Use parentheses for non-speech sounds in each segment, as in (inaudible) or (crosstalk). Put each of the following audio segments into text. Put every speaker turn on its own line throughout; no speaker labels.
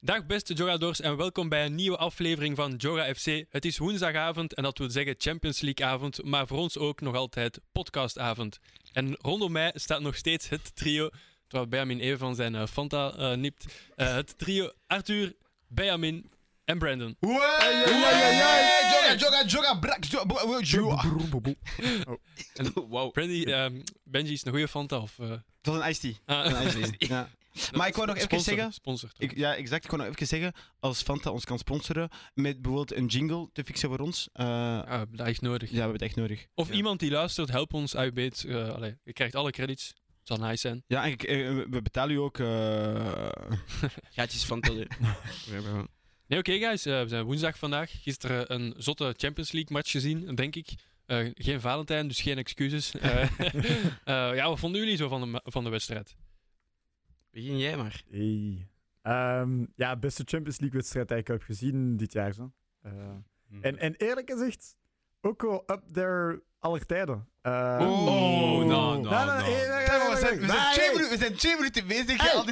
Dag beste Joradors en welkom bij een nieuwe aflevering van Jora FC. Het is woensdagavond en dat wil zeggen Champions League avond, maar voor ons ook nog altijd podcastavond. En rondom mij staat nog steeds het trio, terwijl Benjamin even van zijn eh, Fanta eh, nipt. Eh, het trio Arthur, Benjamin en Brandon.
Joga, joga, joga, brak, jo- bo- bo- jo-
Wow.
Brandy, ehm, Benji is een goede Fanta of... eh,
Dat is een iced tea.
ah,
Een (laughs) iced tea. Ja. Maar ik wou nog even
sponsor,
zeggen-
Sponsor. toch?
Ik, ja, exact. Ik wou nog even zeggen, als Fanta ons kan sponsoren met bijvoorbeeld een jingle te fixen voor ons, eh,
Ah, dat is echt nodig.
ja, we hebben het echt nodig.
Of
Ja.
iemand die luistert, help ons, uitbeet. eh allee, je krijgt alle credits. Zal nice zijn.
Ja, en ik- eh, we betalen u ook... eh, (laughs)
Gaatjes van Tele.
Nee, oké guys, eh, we zijn woensdag vandaag. Gisteren een zotte Champions League match gezien, denk ik. Eh, geen Valentijn, dus geen excuses. Eh, eh, ja, wat vonden jullie zo van de, ma- van de wedstrijd?
Begin jij maar.
Hey. Ehm, ja, beste Champions League-wedstrijd die ik heb gezien dit jaar. Zo. Eh,
Mhm.
en, en eerlijk gezegd, ook wel up there aller tijden. Eh,
Oh, nou. no, no,
Nee, nee, nee, nee, nee,
we, zijn, we,
nee,
zijn twee
nee.
minuten, we zijn twee minuten bezig.
Hey.
Al,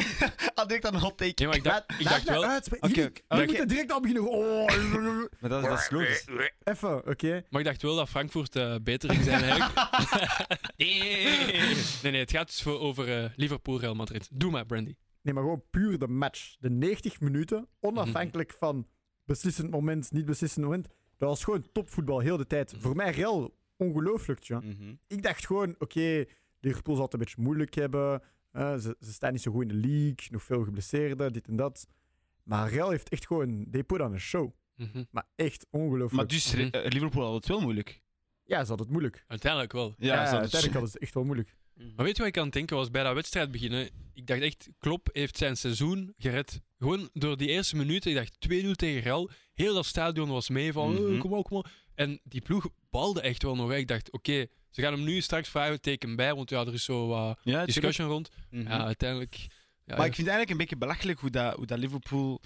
al direct (laughs) aan een hot take.
Nee, maar ik dacht, ik dacht
Laat
wel...
mij uitspreken.
Oké,
Jullie-
oké.
jullie
Oké.
moeten direct al beginnen. Oh. (laughs)
Maar dat, dat is logisch.
Even, oké.
Maar ik dacht wel dat Frankfurt eh, beter ging zijn eigenlijk. nee, nee, het gaat dus voor, over eh, Liverpool-Real Madrid. Doe maar, Brandy.
Nee, maar gewoon puur de match. De 90 minuten, onafhankelijk van beslissend moment, niet beslissend moment. Dat was gewoon topvoetbal, heel de
Mhm.
tijd. Voor mij real ongelooflijk, tja.
Mhm.
ik dacht gewoon, oké, Liverpool zal het een beetje moeilijk hebben. Eh, ze, ze staan niet zo goed in de league, nog veel geblesseerden, dit en dat. Maar Real heeft echt gewoon, they put on een show.
Mhm.
Maar echt ongelooflijk.
Maar dus
Mhm.
eh, Liverpool had het wel moeilijk.
Ja, ze hadden het moeilijk.
Uiteindelijk wel.
Ja, ze hadden het
uiteindelijk hadden ze het echt wel moeilijk.
Maar weet je wat ik aan het denken was bij dat wedstrijd beginnen? Ik dacht echt, Klopp heeft zijn seizoen gered. Gewoon door die eerste minuten. Ik dacht 2-0 tegen Real. Heel dat stadion was mee van,
Mhm.
"Eh, kom op, kom op. En die ploeg balde echt wel nog. hè. Ik dacht, oké, ze gaan hem nu straks vraagteken bij, want ja, er is zo wat
Ja, tuurlijk. Mhm.
discussion rond. Ja, uiteindelijk... Ja,
Maar ik vind het eigenlijk een beetje belachelijk hoe dat, hoe dat Liverpool.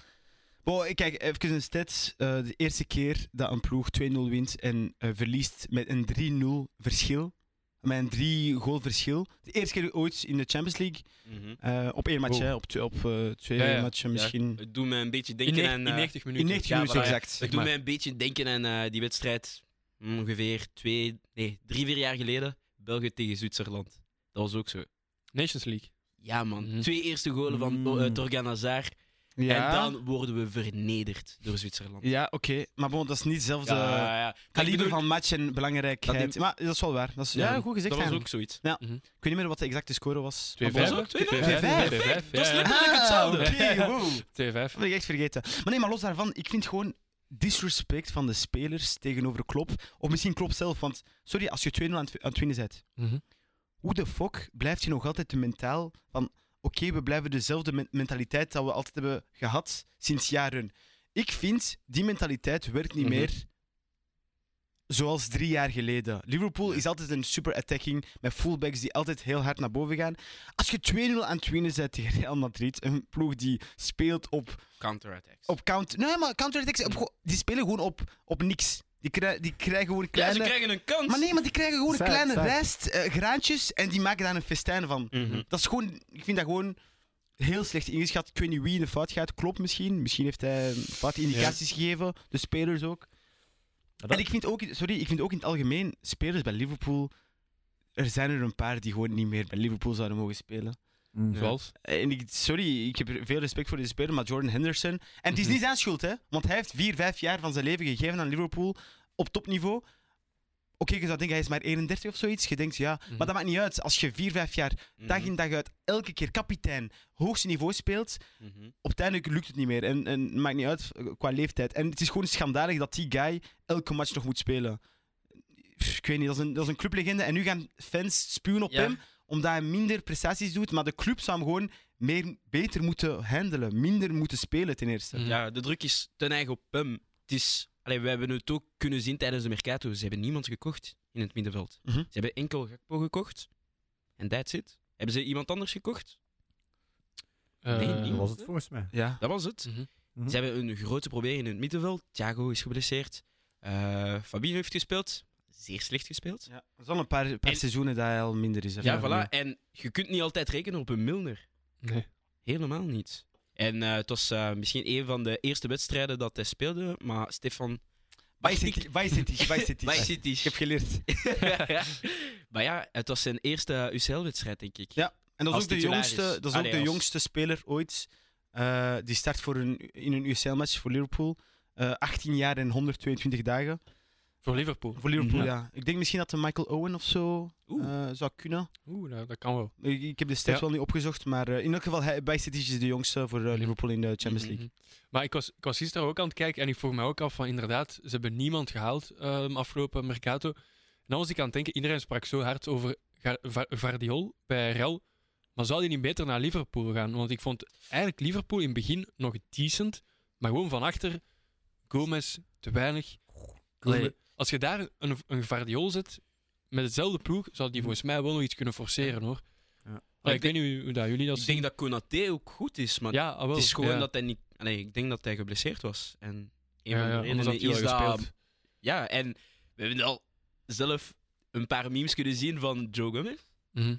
Wow, ik kijk even een stats. Eh, de eerste keer dat een ploeg 2-0 wint en eh, verliest met een 3-0 verschil. Met een 3 goal verschil. De eerste keer ooit in de Champions League.
Mhm.
Eh, op één match,
Wow.
hè, op, twee- op eh, twee
Ja, ja.
matchen misschien.
Het doet me een beetje
in,
denken
neg-
aan.
in
eh,
90 minuten.
In 90
Ja,
minuten
voilà, ja.
exact.
het
zeg
doet
maar.
mij een beetje denken aan eh, die wedstrijd ongeveer twee, nee, drie, vier jaar geleden. België tegen Zwitserland. Dat was ook zo.
Nations League.
Ah,
Ja, man.
Mhm.
Twee eerste golen van
Mm.
oh, eh, Torgan Hazard.
Ja,
En dan worden we vernederd door Zwitserland.
ja oké. Maar bon, dat is niet hetzelfde
ja. Maar ik
kaliber
bedoel-
van match en belangrijkheid.
Dat die-
Maar dat is wel waar. Dat is, ja,
Ja,
goed gezegd.
Dat was
eigenlijk.
ook zoiets.
Ik weet niet meer wat de exacte score was. maar
2-5.
bon,
was ook 2-5.
2-5.
2-5.
2-5.
Dat is
ja, ja.
letterlijk hetzelfde.
Ah, oké, wow.
2-5.
Dat ben ik echt vergeten. Maar nee, maar los daarvan, ik vind gewoon disrespect van de spelers tegenover Klopp. Of misschien Klopp zelf, want sorry, als je 2-0 aan het- aan het winnen bent,
Mhm.
hoe de fuck blijft je nog altijd mentaal van oké, we blijven dezelfde men- mentaliteit dat we altijd hebben gehad sinds jaren. Ik vind, die mentaliteit werkt niet
Mhm.
meer zoals drie jaar geleden. Liverpool is altijd een super attacking met fullbacks die altijd heel hard naar boven gaan. Als je 2-0 aan het winnen bent tegen Real Madrid, een ploeg die speelt op
Counterattacks.
op counter. Nee, maar counterattacks, op go- die spelen gewoon op, op niks. Die, krij- die krijgen gewoon kleine.
Ja, ze krijgen een kans.
maar nee, maar die krijgen gewoon
Sad,
kleine
sad.
rijst, eh, graantjes en die maken daar een festijn van.
Mhm.
Dat is gewoon, ik vind dat gewoon heel slecht ingeschat. Ik weet niet wie in de fout gaat. Klopt misschien. Misschien heeft hij wat indicaties gegeven, de spelers ook.
dat-
En ik vind ook, sorry, ik vind ook in het algemeen, spelers bij Liverpool. Er zijn er een paar die gewoon niet meer bij Liverpool zouden mogen spelen.
Mm.
Zoals?
Eh, En ik, sorry, ik heb er veel respect voor deze speler, maar Jordan Henderson. En het is
Mhm.
niet zijn schuld, hè? Want hij heeft vier, vijf jaar van zijn leven gegeven aan Liverpool op topniveau. Oké, je zou denken, hij is maar 31 of zoiets. Je denkt, ja,
Mhm.
maar dat maakt niet uit. Als je vier, vijf jaar,
Mhm,
dag in dag uit, elke keer kapitein, hoogste niveau speelt,
Mhm.
op het einde lukt het niet meer. En, en het maakt niet uit eh, qua leeftijd. En het is gewoon schandalig dat die guy elke match nog moet spelen. Pff, Ik weet niet, dat is een, dat is een clublegende. En nu gaan fans spuwen op
Ja.
hem, omdat hij minder prestaties doet. Maar de club zou hem gewoon meer, beter moeten handelen. Minder moeten spelen, ten eerste.
Mhm.
Ja, de druk is ten eigen op hem. Het is, allee, we hebben het ook kunnen zien tijdens de Mercato. Ze hebben niemand gekocht in het middenveld.
Mhm.
Ze hebben enkel Gakpo gekocht. En that's it. Hebben ze iemand anders gekocht? Nee,
Eh,
Dat was het volgens mij.
Ja.
Dat was het.
mhm.
Mhm.
Ze hebben een grote proberen in het middenveld. Thiago is geblesseerd. Eh Fabinho heeft gespeeld. Zeer slecht gespeeld.
ja. Dat is al een paar, paar
En-
seizoenen dat hij al minder is.
Ja, voilà. En je kunt niet altijd rekenen op een Milner.
Nee.
Helemaal niet. En eh, het was eh, misschien een van de eerste wedstrijden dat hij speelde, maar Stefan...
Vice City, Vice City,
(laughs)
Vice City.
Vice
Ik
City.
heb geleerd.
(laughs) maar ja, het was zijn eerste UCL-wedstrijd, denk ik.
Ja, En dat is
Als
ook de
titularis.
jongste, dat is
Allee,
ook de
als-
jongste speler ooit. eh, die start voor een, in een UCL-match voor Liverpool. Eh, 18 jaar en 122 dagen.
Voor Liverpool.
Voor Liverpool,
Mhm.
ja. Ik denk misschien dat de Michael Owen of zo
Oeh.
eh, zou kunnen.
Oeh, nou, dat kan wel.
Ik, ik heb de stats
Ja.
wel niet opgezocht, maar eh, in elk geval, hij, bij City is de jongste voor eh, Liverpool in de Champions League.
(laughs) Mhm. Maar ik was, ik was gisteren ook aan het kijken en ik vroeg me ook af van inderdaad, ze hebben niemand gehaald ehm, afgelopen Mercato. En dan was ik aan het denken, iedereen sprak zo hard over Ga- Va- Vardiol bij Real. Maar zou die niet beter naar Liverpool gaan? Want ik vond eigenlijk Liverpool in het begin nog decent, maar gewoon van achter Gomez te weinig. Allee, als je daar een, een Vardiol zet met hetzelfde ploeg, zou
Mhm.
die volgens mij wel nog iets kunnen forceren hoor.
Ja.
Allee,
Ik
ik weet niet hoe- hoe dat jullie dat
Ik
zien.
denk dat Konaté ook goed is, maar
ja, ah, wel,
het is gewoon
ja.
dat hij niet... Allee, ik denk dat hij geblesseerd was. En een
Ja,
van de
ja,
redenen
anders had hij
is
wel
dat-
gespeeld.
Ja, en we hebben al zelf een paar memes kunnen zien van Joe Gomez.
Mhm.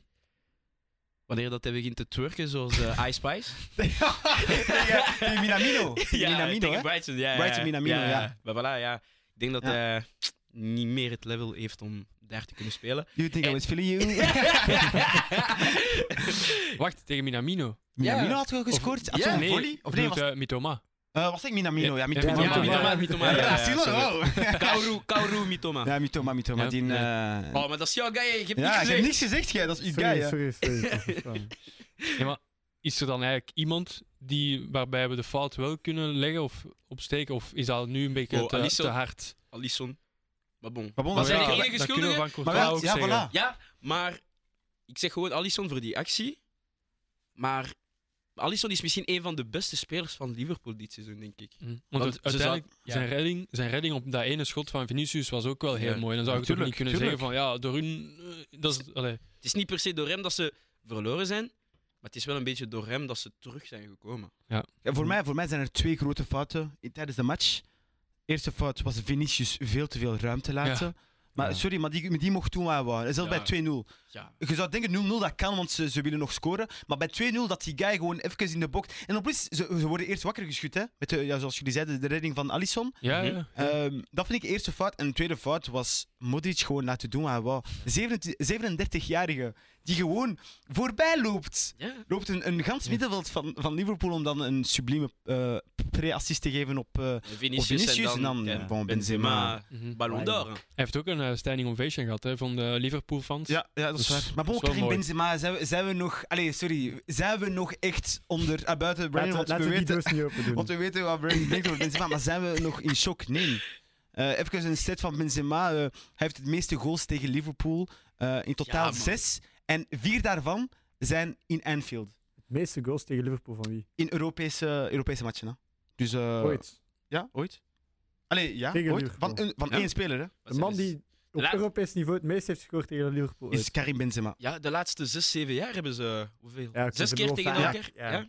Wanneer dat hij begint te twerken, zoals
(laughs)
eh Ice Spice.
tegen, (laughs) tegen
(laughs)
Minamino. Tegen Minamino,
tegen
hè?
Brighton, ja. ja,
Brighton,
ja.
Minamino, ja.
Maar voilà, ja. Ik denk dat
Ja.
hij niet meer het level heeft om daar te kunnen spelen.
You think I was feeling you?
Wacht, tegen Minamino.
(laughs) Minamino had ook gescoort. Had zo'n
nee,
volley? Of nee,
bedoelt,
was,
eh, Mitoma.
eh, was ik Minamino? Ja, Mitoma.
Mitoma,
Mitoma.
ja,
Mitoma,
Ja,
ja, ja,
ja, zie je
sorry.
wel? Oh.
Kaoru, Kaoru Mitoma.
Ja, Mitoma, Mitoma.
Ja,
Die, eh,
Oh, maar dat is jouw guy, hè. ik heb
ja,
niks
ik heb
gezegd.
niks gezegd, jij. Dat is uw guy,
Sorry,
hè.
sorry, sorry. dat
(laughs)
is wel-
Ja, maar is er dan eigenlijk iemand die, waarbij we de fout wel kunnen leggen of opsteken? Of is dat nu een beetje
Oh,
te,
Alisson.
te hard?
Alisson. Maar bon.
Maar bon,
Maar
ja,
zijn
ja,
de
dat-
enige
dat kunnen we
schuldigen?
van Courtois
Maar wel,
ook
ja,
zeggen.
voilà.
Ja, maar ik zeg gewoon Alisson voor die actie. Maar Alisson is misschien een van de beste spelers van Liverpool dit seizoen, denk ik.
Mm, Want,
Want
het-
ze
uiteindelijk,
zou- ja.
zijn, redding, zijn redding op dat ene schot van Vinicius was ook wel heel
Ja.
mooi. Dan zou ik toch
Tuurlijk,
niet kunnen
tuurlijk.
zeggen van, ja, door hun... eh, dat is, allee.
Het is niet per se door hem dat ze verloren zijn, maar het is wel een beetje door hem dat ze terug zijn gekomen.
Ja, voor, mij, voor mij zijn er twee grote fouten in- tijdens de match. Eerste fout was Vinicius veel te veel ruimte laten. Maar
Ja.
sorry, maar die, die mocht toen waar waren. Zelfs
Ja.
bij 2-0.
Ja.
Je zou denken 0-0 dat kan, want ze, ze willen nog scoren. Maar bij 2-0 dat die guy gewoon even in de box. En op plus, ze, ze worden eerst wakker geschud, hè? Met de, ja, zoals jullie zeiden, de redding van Alisson.
Ja,
Mhm.
ja.
Ehm, dat vind ik de eerste fout. En de tweede fout was Modric gewoon laten doen waar hij wou. 27 37-jarige die gewoon voorbij loopt.
Ja.
Loopt een, een gans middenveld van, van Liverpool om dan een sublieme eh, pre-assist te geven op eh,
En Vinicius,
Vinicius
en dan,
en dan, eh,
ja,
bon, Benzema.
Mhm.
Ballon d'Or. hè.
Hij heeft ook een eh, standing ovation gehad hè, van de Liverpool-fans.
Ja, ja, dat is
Dus-
waar. Maar bon,
dat is wel
Karim
mooi.
Benzema, zijn we, zijn we nog... Allee, sorry. Zijn we nog echt onder... ah, buiten Brandon,
Laten
want,
laten
we
we die
weten,
doos niet open
want
doen.
we weten wat Brandon denkt over Benzema. Maar zijn we nog in shock? Nee. Eh, even een stat van Benzema. eh, hij heeft het meeste goals tegen Liverpool. eh, in totaal
Ja, man.
zes. En vier daarvan zijn in Anfield.
De meeste goals tegen Liverpool van wie?
In Europese, Europese matchen, hè. Dus... eh,
Ooit.
Ja, ooit. Allee, ja,
Tegen
ooit.
Liverpool.
Van, een, van
Ja.
één speler, hè.
De man die op
La-
Europees niveau het meest heeft gescoord tegen Liverpool. ooit.
Is Karim Benzema.
Ja, de laatste zes, zeven jaar hebben ze hoeveel?
Ja, oké,
zes
ze
keer
hebben
tegen
wel
elkaar.
vaak,
Ja.
ja.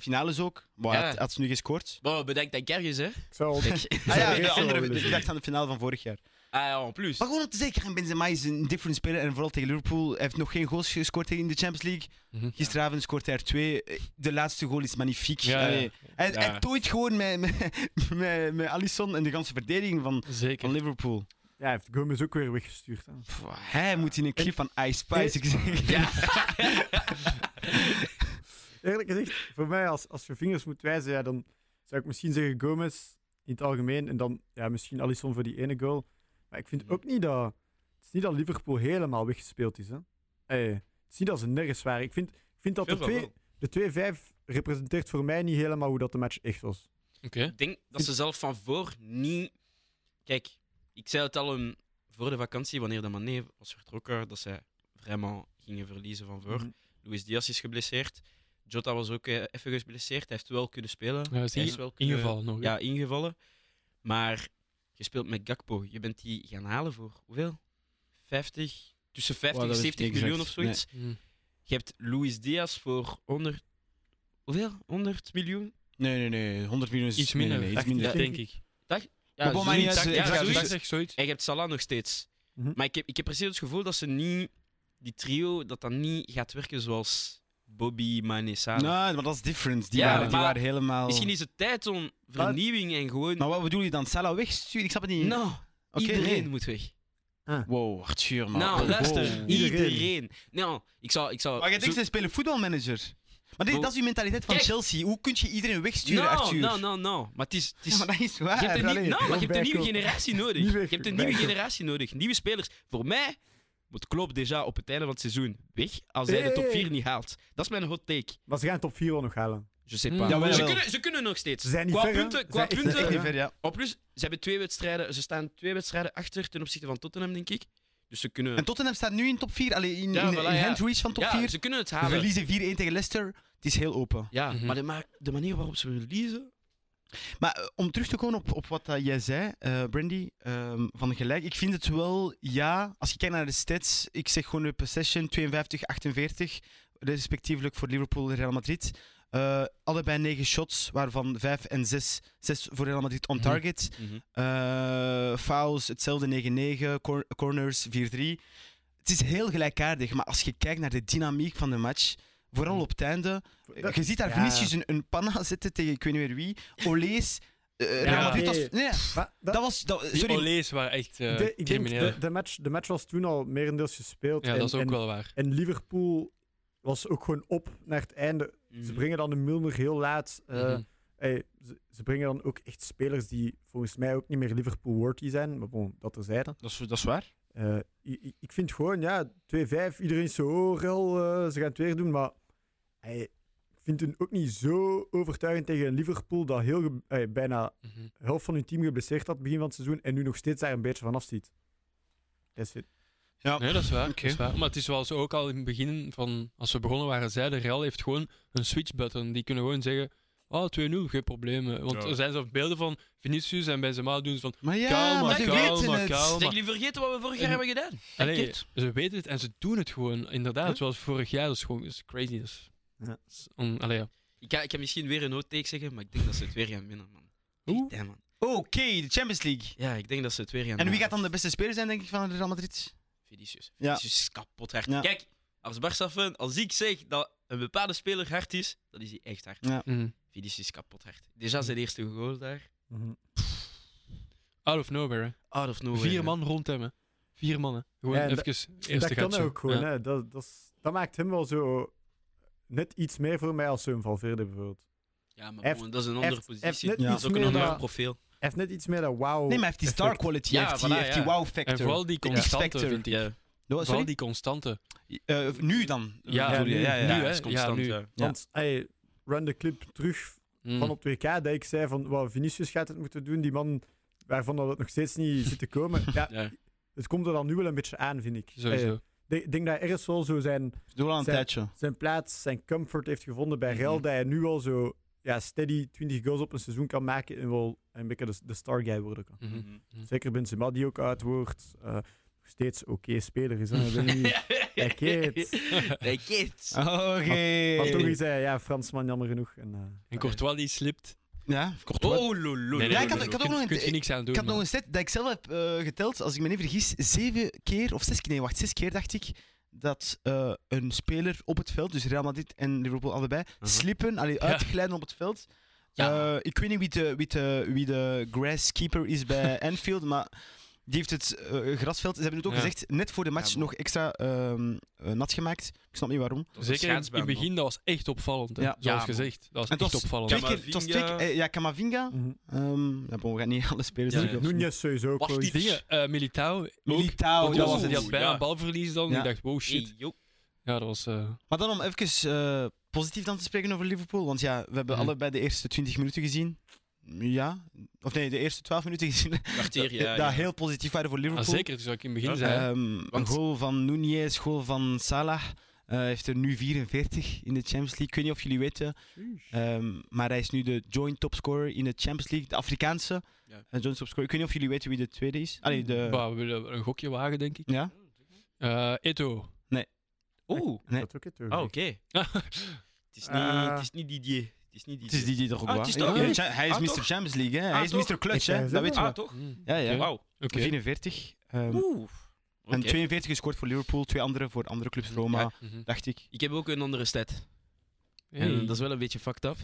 Finales ook. Maar
Ja.
had, had ze nu gescoord?
Wow, bedenk dat Gerjes, hè?
Ik zou op-
Ah ja,
Zou
de
ik zo
andere,
willen
ik
zien.
dacht aan de finale van vorig jaar.
Ah ja, en plus.
Maar gewoon om te zeggen, Karim Benzema is een different speler. En vooral tegen Liverpool. Hij heeft nog geen goals gescoord tegen in de Champions League.
Mhm.
Gisteravond scoort hij er twee. Eh, De laatste goal is magnifiek.
Ja,
Allee,
ja,
Hij,
Ja.
hij tooit gewoon met, met, met, met Alisson en de ganse verdediging van, van
zeker.
Liverpool.
Ja, hij heeft Gomez ook weer weggestuurd. Hè.
Pff, hij moet in een clip van Ice Spice. Ik zeg.
Ja.
Eerlijk gezegd, voor mij, als, als je vingers moet wijzen, ja, dan zou ik misschien zeggen Gomez in het algemeen. En dan ja, misschien Alisson voor die ene goal. Maar ik
Mhm.
vind ook niet dat... Het is niet dat Liverpool helemaal weggespeeld is. Hè. Eh, het is niet dat ze nergens waren. Ik vind, ik vind dat de
Veel van wel.
2 de 2-5 representeert voor mij niet helemaal hoe dat de match echt was.
Oké.
Ik denk dat ze zelf van voor niet. Kijk, ik zei het al um, voor de vakantie, wanneer de Mané was vertrokken, dat zij vraiment gingen verliezen van voor.
Mhm.
Luis Diaz is geblesseerd. Jota was ook eh, even geblesseerd. Hij heeft wel kunnen spelen.
Ja, is
Hij
in- ingevallen nog. hè.
Eh, ja, ingevallen. Maar je speelt met Gakpo. Je bent die gaan halen voor hoeveel? 50, tussen 50
Wow,
en
dat weet ik
70
niet
miljoen of zoiets.
exact.
Mhm.
Je hebt Luis Diaz voor 100. Hoeveel? 100 miljoen?
Nee, nee, nee. 100 miljoen is
Iets
nee,
minder,
nee, nee, iets
80,
minder.
denk ik.
Maar bon, maar niet
zoiets.
uit,
Ja,
eh,
Ja,
zoiets.
zoiets.
zoiets. zoiets.
En je hebt Salah nog steeds.
Mhm.
Maar ik heb, ik heb precies het gevoel dat ze niet... Die trio, dat dat niet gaat werken zoals Bobby Manesara.
Nee, Nou, maar dat is different. Die,
Ja,
waren, die
maar-
waren helemaal...
Misschien is het tijd om vernieuwing en gewoon...
Maar wat bedoel je dan? Salah wegsturen? Ik snap het niet.
Nou,
Nou, Oké,
iedereen
nee.
moet weg.
Wow, Arthur, man.
Nou,
Wow.
luister.
Iedereen.
Iedereen. Nou, ik zal... Ik zal
Maar jij
zo-
denkt, ze spelen voetbalmanager. Maar dit,
Wow.
dat is uw mentaliteit van
Kijk.
Chelsea. Hoe kun je iedereen wegsturen,
Nou,
Arthur?
nou, nou, nou. Maar het is... Het is...
Ja, maar dat is
Ah,
waar.
je hebt een,
Allee.
nieuw- nou, maar je hebt een nieuwe
Bijkoop. (laughs)
generatie
Niet
nodig. Je
weg,
hebt een nieuwe
bijkoop.
generatie nodig. Nieuwe spelers. Voor mij moet Klopp déjà op het einde van het seizoen weg als hij de top
Hey.
4 niet haalt. Dat is mijn hot take.
Maar ze gaan top 4 wel nog halen.
Je sais
Mm.
pas.
Jawel,
ze,
jawel.
kunnen, ze kunnen nog steeds.
Hmm. Ze zijn niet
qua
ver, hè?
punten,
Ze
qua
zijn echt niet
Echt
punten
ver,
niet
hè?
ver, ja.
En plus, ze, hebben twee wedstrijden, ze staan twee wedstrijden achter ten opzichte van Tottenham, denk ik. Dus ze
En
kunnen,
Tottenham staat nu in top 4. Allee, in,
Ja,
in,
voilà,
in
ja.
handreach van top
ja,
4.
ze kunnen het
We
halen.
verliezen 4-1 tegen Leicester. Het is heel open.
Ja,
Mhm.
maar de, ma- de manier waarop ze verliezen...
Maar eh, om terug te komen op, op wat dat jij zei, eh, Brandy, ehm, van gelijk. Ik vind het wel, ja, als je kijkt naar de stats, ik zeg gewoon de possession 52, 48, respectievelijk voor Liverpool en Real Madrid. Eh, allebei 9 shots, waarvan 5 en 6, 6 voor Real Madrid on
Mhm.
target. Eh, fouls, hetzelfde 9-9, cor- corners 4-3. Het is heel gelijkaardig, maar als je kijkt naar de dynamiek van de match, vooral op het einde,
Dat-
je ziet daar
Ja.
Vinicius een, een panna zitten tegen ik weet niet meer wie, Olees, eh, Real
Ja.
Madrid was...
Nee.
Nee,
Maar dat-
dat was... Dat,
Die
sorry,
Olees waren echt eh,
de, ik denk,
crimineel.
de, de, match, de match was toen al merendeels gespeeld.
Ja,
en,
dat is ook
en,
wel waar.
en Liverpool was ook gewoon op naar het einde. Ze brengen dan de Milner heel laat. eh,
Mhm.
hey, ze, ze brengen dan ook echt spelers die volgens mij ook niet meer Liverpool-worthy zijn. Maar bon, dat terzijde.
dat, is, dat is waar.
Eh, i- i- ik vind gewoon, ja, 2-5, iedereen is zo, oh, rel, eh, ze gaan het weer doen. Maar ey, ik vind hun ook niet zo overtuigend tegen een Liverpool dat heel, ge- ey, bijna
Mhm.
de helft van hun team geblesseerd had begin van het seizoen en nu nog steeds daar een beetje van afziet. That's it.
Ja.
Nee, dat is, waar,
Oké.
dat is waar. Maar het is zoals we ook al in het begin, van, als we begonnen waren, zeiden Real heeft gewoon een switch button. Die kunnen gewoon zeggen, oh, 2-0, geen problemen. Want
Ja.
er zijn zelfs beelden van Vinicius en Benzema doen ze van...
Maar ja,
Kalm,
maar
maar
ze
kalm,
weten
maar
het.
kalm.
Zijn jullie vergeten wat we vorig jaar hebben gedaan?
Allee,
Kijk,
ze weten het en ze doen het gewoon. Inderdaad,
Huh?
zoals vorig jaar. Dat is gewoon dat is crazy. Dat is,
Ja.
dat is on- allee, ja.
Ik ga, ik ga misschien weer een hot take zeggen, maar ik denk dat ze het weer gaan winnen, man.
Oeh.
Ja, man.
Oké, de Champions League.
Ja, ik denk dat ze het weer gaan
En wie
winnen.
gaat dan de beste speler zijn, denk ik, van Real Madrid?
Vinicius.
Ja.
Vinicius is kapot hard.
Ja.
Kijk, als Barca fan, als ik zeg dat een bepaalde speler hard is, dan is hij echt hard.
Mm.
Vinicius is kapot hard. Déjà zijn eerste goal daar.
Mhm.
Out of nowhere. hè.
Out of nowhere.
Vier man rond hem. hè. Vier mannen. Gewoon
Ja, en
even
dat-
eerste
dat kan
gatje.
ook gewoon,
Ja.
hè. Dat, dat, is- dat maakt hem wel zo net iets meer voor mij als zo'n Valverde bijvoorbeeld.
Ja, maar
Heeft-
bon, dat is een andere
heeft- heeft
positie.
net
Ja.
Dat
iets
is ook een
meer
ander
dat-
profiel.
Hij heeft net iets meer dat wow.
Nee, maar hij heeft die star
effect.
quality,
Ja,
hij heeft die,
voilà,
hij heeft die
ja.
wow
En
factor.
vooral die constante,
X-factor.
vind ik.
Ja,
Oh,
Vooral
sorry?
die constante.
Eh, nu dan.
Ja,
bedoel je?
nu.
ja, ja.
Nu,
ja,
hè?
dat is constant.
Ja, nu.
ja.
Ja.
Want ey, run de clip terug
Mm.
van op 2K dat ik zei van wow, Vinicius gaat het moeten doen, die man waarvan dat het nog steeds niet zit te komen. Ja,
Ja.
het komt er dan nu wel een beetje aan, vind ik.
Sowieso.
Eh, Ik denk dat hij ergens wel zo zijn,
Doe al een
Zij-
tijdje.
zijn plaats, zijn comfort heeft gevonden bij Real,
Mhm.
dat hij nu al zo ja, steady 20 goals op een seizoen kan maken en wel een beetje de, de star guy worden kan.
Mhm.
Zeker Benzema, die ook uit wordt, eh, nog steeds oké speler is. Hè? Wil niet- Hey, kids.
(laughs) Hey, kids.
Oké.
Maar toch is hij ja, Fransman, jammer genoeg. En, eh,
En Courtois die slipt.
Ja, kort
Oh, lolo.
nee, Ja, ik had- ik had ook
Kun-
nog een-
kun je niks aan doen.
Ik had nog
man.
een set dat ik zelf heb eh, geteld, als ik me niet vergis, zeven keer, of zes keer, nee, wacht, zes keer dacht ik, dat eh, een speler op het veld, dus Real Madrid en Liverpool allebei,
Uh-huh.
slippen, allee, uitglijden op het veld.
Ja.
Eh, ik weet niet wie de, wie de, wie de grasskeeper is
(laughs)
bij Anfield, maar die heeft het eh, grasveld, ze hebben het ook
Ja.
gezegd, net voor de match
Ja, man.
nog extra ehm, eh, nat gemaakt. Ik snap niet waarom.
Zeker in- in het begin, dat was echt opvallend. hè.
Ja.
Zoals
Ja, man.
gezegd, dat was
En
echt
het was
opvallend.
Twee keer, het was twee keer,
Camavinga.
eh, ja, Camavinga.
mhm.
Ehm, ja, bon, we gaan niet (laughs) alle spelers
Ja,
terug
ja.
opzoeken.
Nunez sowieso.
Was
coach.
die-
Dingen, eh, Militao. ook.
Militao,
Want
dat
was-
was het.
Die had bijna
Ja.
een balverlies dan.
Ja.
Ik dacht, wow, shit.
Hey, yo.
Ja, dat was... eh,
Maar dan om even eh, positief dan te spreken over Liverpool. Want ja, we hebben
Mhm.
allebei de eerste 20 minuten gezien. Ja, of nee, de eerste 12 minuten
(laughs)
gezien.
Kwartier,
(laughs)
ja.
dat
ja.
heel positief waren voor
ah,
Liverpool.
zeker, dus wat ik in het begin
Ja.
zei. hè.
Ehm, Een
Want-
goal van Nunez, goal van Salah. eh, heeft er nu 44 in de Champions League. Ik weet niet of jullie weten.
Eh,
ehm, maar hij is nu de joint topscorer in de Champions League. De Afrikaanse
Ja.
eh, joint topscorer. Ik weet niet of jullie weten wie de tweede is. Allee, de...
Bah, we willen een gokje wagen, denk ik.
Ja?
Eh Eto.
Oeh.
Nee.
Dat ook het
Oh,
Ah, oké.
ook.
(laughs) Het is niet-
Eh.
het is niet Didier. Het is niet
Het is
Didier.
die die toch ook
Ah,
wel.
het is toch-
Ja, ja, Hij is
Ah,
Mr.
toch?
Champions League, hè. hij
Ah,
is
toch?
Mr. Clutch, hè.
Ik zei
Dat
zo.
weten we.
Ah, toch?
Mm,
Ja, ja.
oké.
Wauw.
Oké.
44. ehm,
Oeh.
En
Oké.
42 gescoord voor Liverpool, twee andere voor andere clubs Roma,
Ja.
dacht ik.
Ik heb ook een andere stat.
Mhm. Hey.
En dat is wel een beetje fucked up.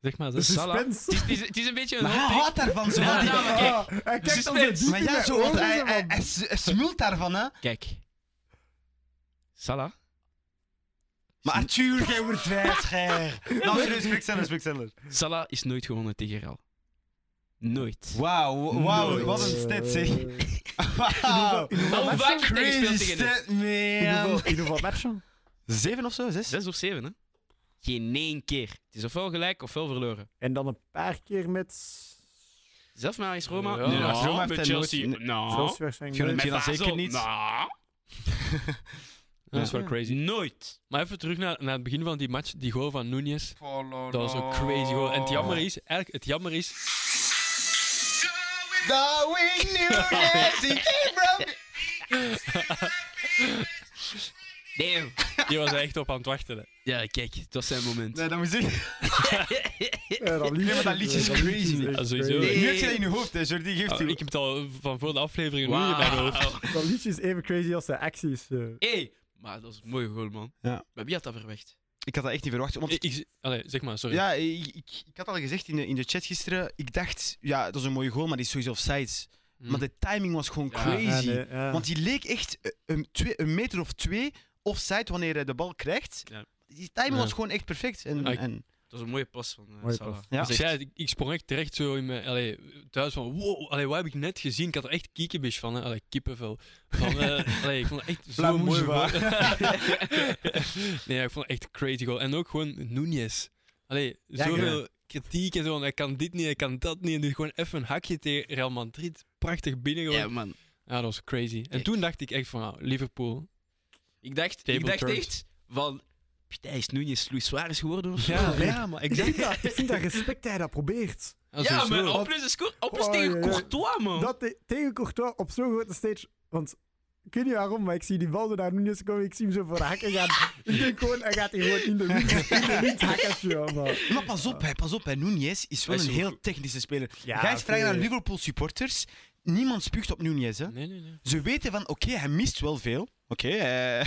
Zeg maar,
De
zeg.
Salah.
suspense.
Het is, het is een beetje een
Maar hij
hot take.
houdt daarvan zo.
Ja,
(laughs)
want die-
ja, maar kijk,
Ah, hij kijkt
suspense.
al zo diep
maar
in
ja,
mijn
zo,
ogen,
want hij,
man.
hij, hij s- hij smult daarvan, hè.
Kijk. Salah.
Maar Arthur, jij wordt wijs, gij. Nou, serieus, Pixellers, Pixellers.
Salah is nooit gewonnen tegen Real. Nooit.
Wauw, wauw,
Nooit.
wat een stat, zeg.
Eh, in
Wauw.
Hoe
matchen?
vaak je tegen
Crazy
speelt tegen hem?
stat, man.
hoeveel- In hoeveel matchen?
Zeven of zo, zes?
Zes of zeven, hè? Geen één keer. Het is ofwel gelijk ofwel verloren.
En dan een paar keer met
Zelfs met AS Roma.
Ja,
Nou,
AS Roma heeft
met
hij
Chelsea.
nooit-
Nou.
Chelsea waarschijnlijk.
Fiorentina
Met
zeker
Basel.
niet.
Nou.
Dat is
Ja.
wel crazy.
Nooit.
Maar even terug naar, naar het begin van die match, die goal van Nunez. Dat was ook crazy goal. En het jammer is, eigenlijk, het jammer is...
Darwin Nunes, he came from...
Damn.
Die was er echt op aan het wachten. hè.
Ja, kijk, het was zijn moment.
Nee, dat moet ik...
Ja, Eh, dat liedje,
maar dat liedje is crazy,
echt
man. Ja, sowieso.
crazy.
Nee.
Nu heb je dat in je hoofd, hè, Jordi, geeft
Ah,
u.
ik heb het al van voor de aflevering nu in
Wauw.
mijn hoofd.
Dat liedje is even crazy als zijn acties. eh.
Hey, maar dat is een mooie goal, man.
Ja.
Maar wie had dat verwacht?
Ik had dat echt niet verwacht, want
Ik, ik- allee, zeg maar, sorry.
Ja, ik, ik, ik had al gezegd in de, in de chat gisteren. Ik dacht, ja, dat is een mooie goal, maar die is sowieso offsides.
Hm.
Maar de timing was gewoon
Ja.
crazy.
Ja, nee, ja.
Want die leek echt eh, een, twee, een meter of twee offside wanneer hij de bal krijgt.
Ja.
Die timing
Ja.
was gewoon echt perfect. En,
Ja, ik-
en,
Dat was een mooie pas van eh
Mooie
Salah.
pas.
Ja.
Als ik, zei, ik, ik sprong echt terecht zo in mijn allee, thuis van wow, allee, wat heb ik net gezien? Ik had er echt kiekenbisch van, hè. Allee, kippenvel. Van, eh, allee, ik vond het echt zo
Blamoes,
mooi.
waar.
goal. (laughs) nee, ik vond het echt een crazy goal. En ook gewoon Nunez. Allee,
Ja,
zoveel kritiek en zo. En hij kan dit niet, hij kan dat niet. En doet gewoon even een hakje tegen Real Madrid. Prachtig binnen
Ja,
Ja.
man.
ja, dat was crazy. En
Kijk.
toen dacht ik echt van, ah, Liverpool.
Ik dacht,
Table
ik dacht
turned.
echt van... Hij is nu niet Luis Suarez geworden of zo.
Ja,
ja, maar
Ik
exact.
vind, dat, ik vind dat respect dat hij (laughs) dat probeert.
Ah,
ja
sowieso.
man. Op plus, is goed. Op plus
Oh,
tegen
ja, ja.
Courtois, man.
Dat te- tegen Courtois op zo'n grote stage. Want ik weet niet waarom, maar ik zie die bal door naar Nunes komen. Ik zie hem zo voor de hakken (laughs) gaan. Ik denk gewoon, hij gaat hier gewoon in de wind, in de wind hakken. tjoh, Maar.
Maar pas op, hè, pas op. Hè. Nunez is wel
Hij
een
is zo
heel
goed.
technische speler.
Ja,
Ga eens vragen
oké.
aan Liverpool supporters. Niemand spuugt op Nunez. Hè.
Nee, nee, nee.
Ze weten van, oké, hij mist wel veel. Oké, eh,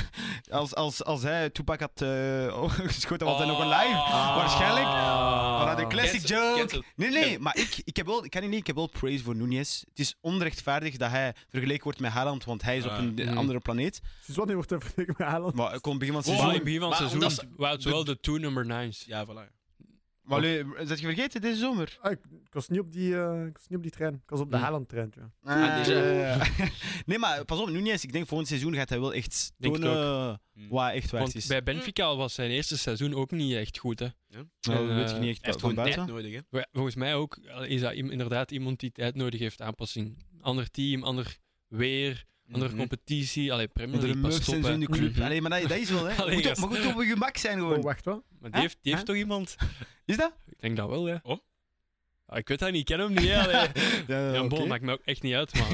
als, als, als hij Tupac had eh, (laughs) geschoten, was hij nog
Oh.
alive.
Ah.
Waarschijnlijk. Maar dat is een classic
Ah. Cancel,
joke.
cancel.
Nee, nee, maar ik, ik, heb wel, ik kan niet, ik heb wel praise voor Nunez. Het is onrechtvaardig dat hij vergeleken wordt met Haaland, want hij is op
Ah.
een eh,
Mm.
andere planeet.
Dus wat nu wordt er vergeleken met Haaland?
Maar eh, ik kon begin van het
Wow,
seizoen...
in het begin van het
Maar
seizoen
omdat
waren het wel de two number nines.
Ja, voilà.
Maar allee, zet je vergeten, deze zomer?
Ah, ik, ik was niet op die, eh, ik was niet op die trein. Ik was op
Hm.
de
Hmm.
Haaland-trein. tjoh.
Ah, deze.
Eh, (laughs) nee, maar pas op, Nunez. Ik denk volgend seizoen gaat hij wel echt
Denk het
tonen
Hm.
waar hij echt waard
Want
is.
bij
Mm.
Benfica was zijn eerste seizoen ook niet echt goed. Hè.
Nou, dat
en,
weet je
eh,
niet echt
Hij heeft
van
gewoon tijd
buiten.
nodig, hè.
Maar ja, Volgens mij ook eh, is dat im- inderdaad iemand die tijd nodig heeft, aanpassing. Ander team, ander weer, andere
Mhm.
competitie. Allee, Premier
De
League pas
muffs
top.
en zo
hè.
in de club.
Mhm.
Mm-hmm. (laughs) Allee, maar dat, dat is wel, hè.
Allee,
Moet op-
gast.
maar goed op je gemak zijn
Oh,
gewoon.
wacht, wat?
Maar die
Hè?
heeft, die
Hè?
heeft toch iemand?
Is dat?
Ik denk dat wel, ja.
Oh?
Ja, ik weet dat niet, ik ken hem niet. hè,
(laughs)
allee.
Ja,
Ja,
Oh, oké.
bon, maakt me ook echt niet uit, man.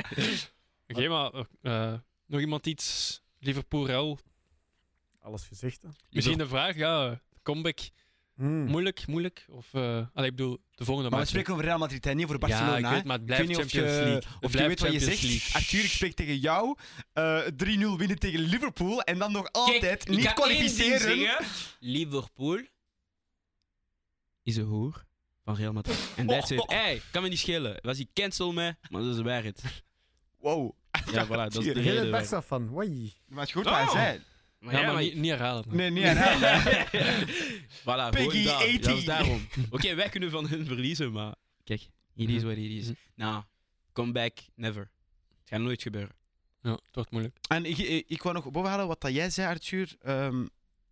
(laughs) Oké, maar eh, nog iemand iets? Liverpool, Real.
Alles gezegd. hè.
Misschien de vraag, ja. Comeback,
Hm.
moeilijk, moeilijk. Of, eh allee, ik bedoel, de volgende
Maar
match,
we
hè.
spreken over Real Madrid, hè, niet over Barcelona.
Ja, ik
hè.
weet, maar het
Ik weet
blijft
niet of
Champions
je,
League. Het
of je
blijft
weet wat je
Champions
zegt. Ah,
League.
Arthur, ik spreek tegen jou. Eh, 3-0 winnen tegen Liverpool. En dan nog altijd
Kijk, ik
niet
ga één ding
kwalificeren.
zeggen. Liverpool is een hoer van Real Madrid. En that's it. Hey, kan me niet schelen. Was die cancel mij? Maar dat is de waarheid.
Wow.
Ja, voilà, dat is de
Heel
Heel het
reden.
best
waarom.
van. Wai.
Maar het is goed waar
Oh.
hij zei.
Ja,
Maar
maar,
ja,
(laughs)
maar
niet, niet herhalen.
Nee, niet aan hem. hè.
(laughs) voilà, gewoon
Piggy
daar. Ja, dat
80.
is daarom. Oké, wij kunnen van hun verliezen, maar... Kijk, it is what it is.
Mhm.
Nou, come back, never. Het gaat nooit gebeuren.
Ja, het wordt moeilijk.
En ik, ik, ik wou nog bovenhalen wat dat jij zei, Arthur. Ehm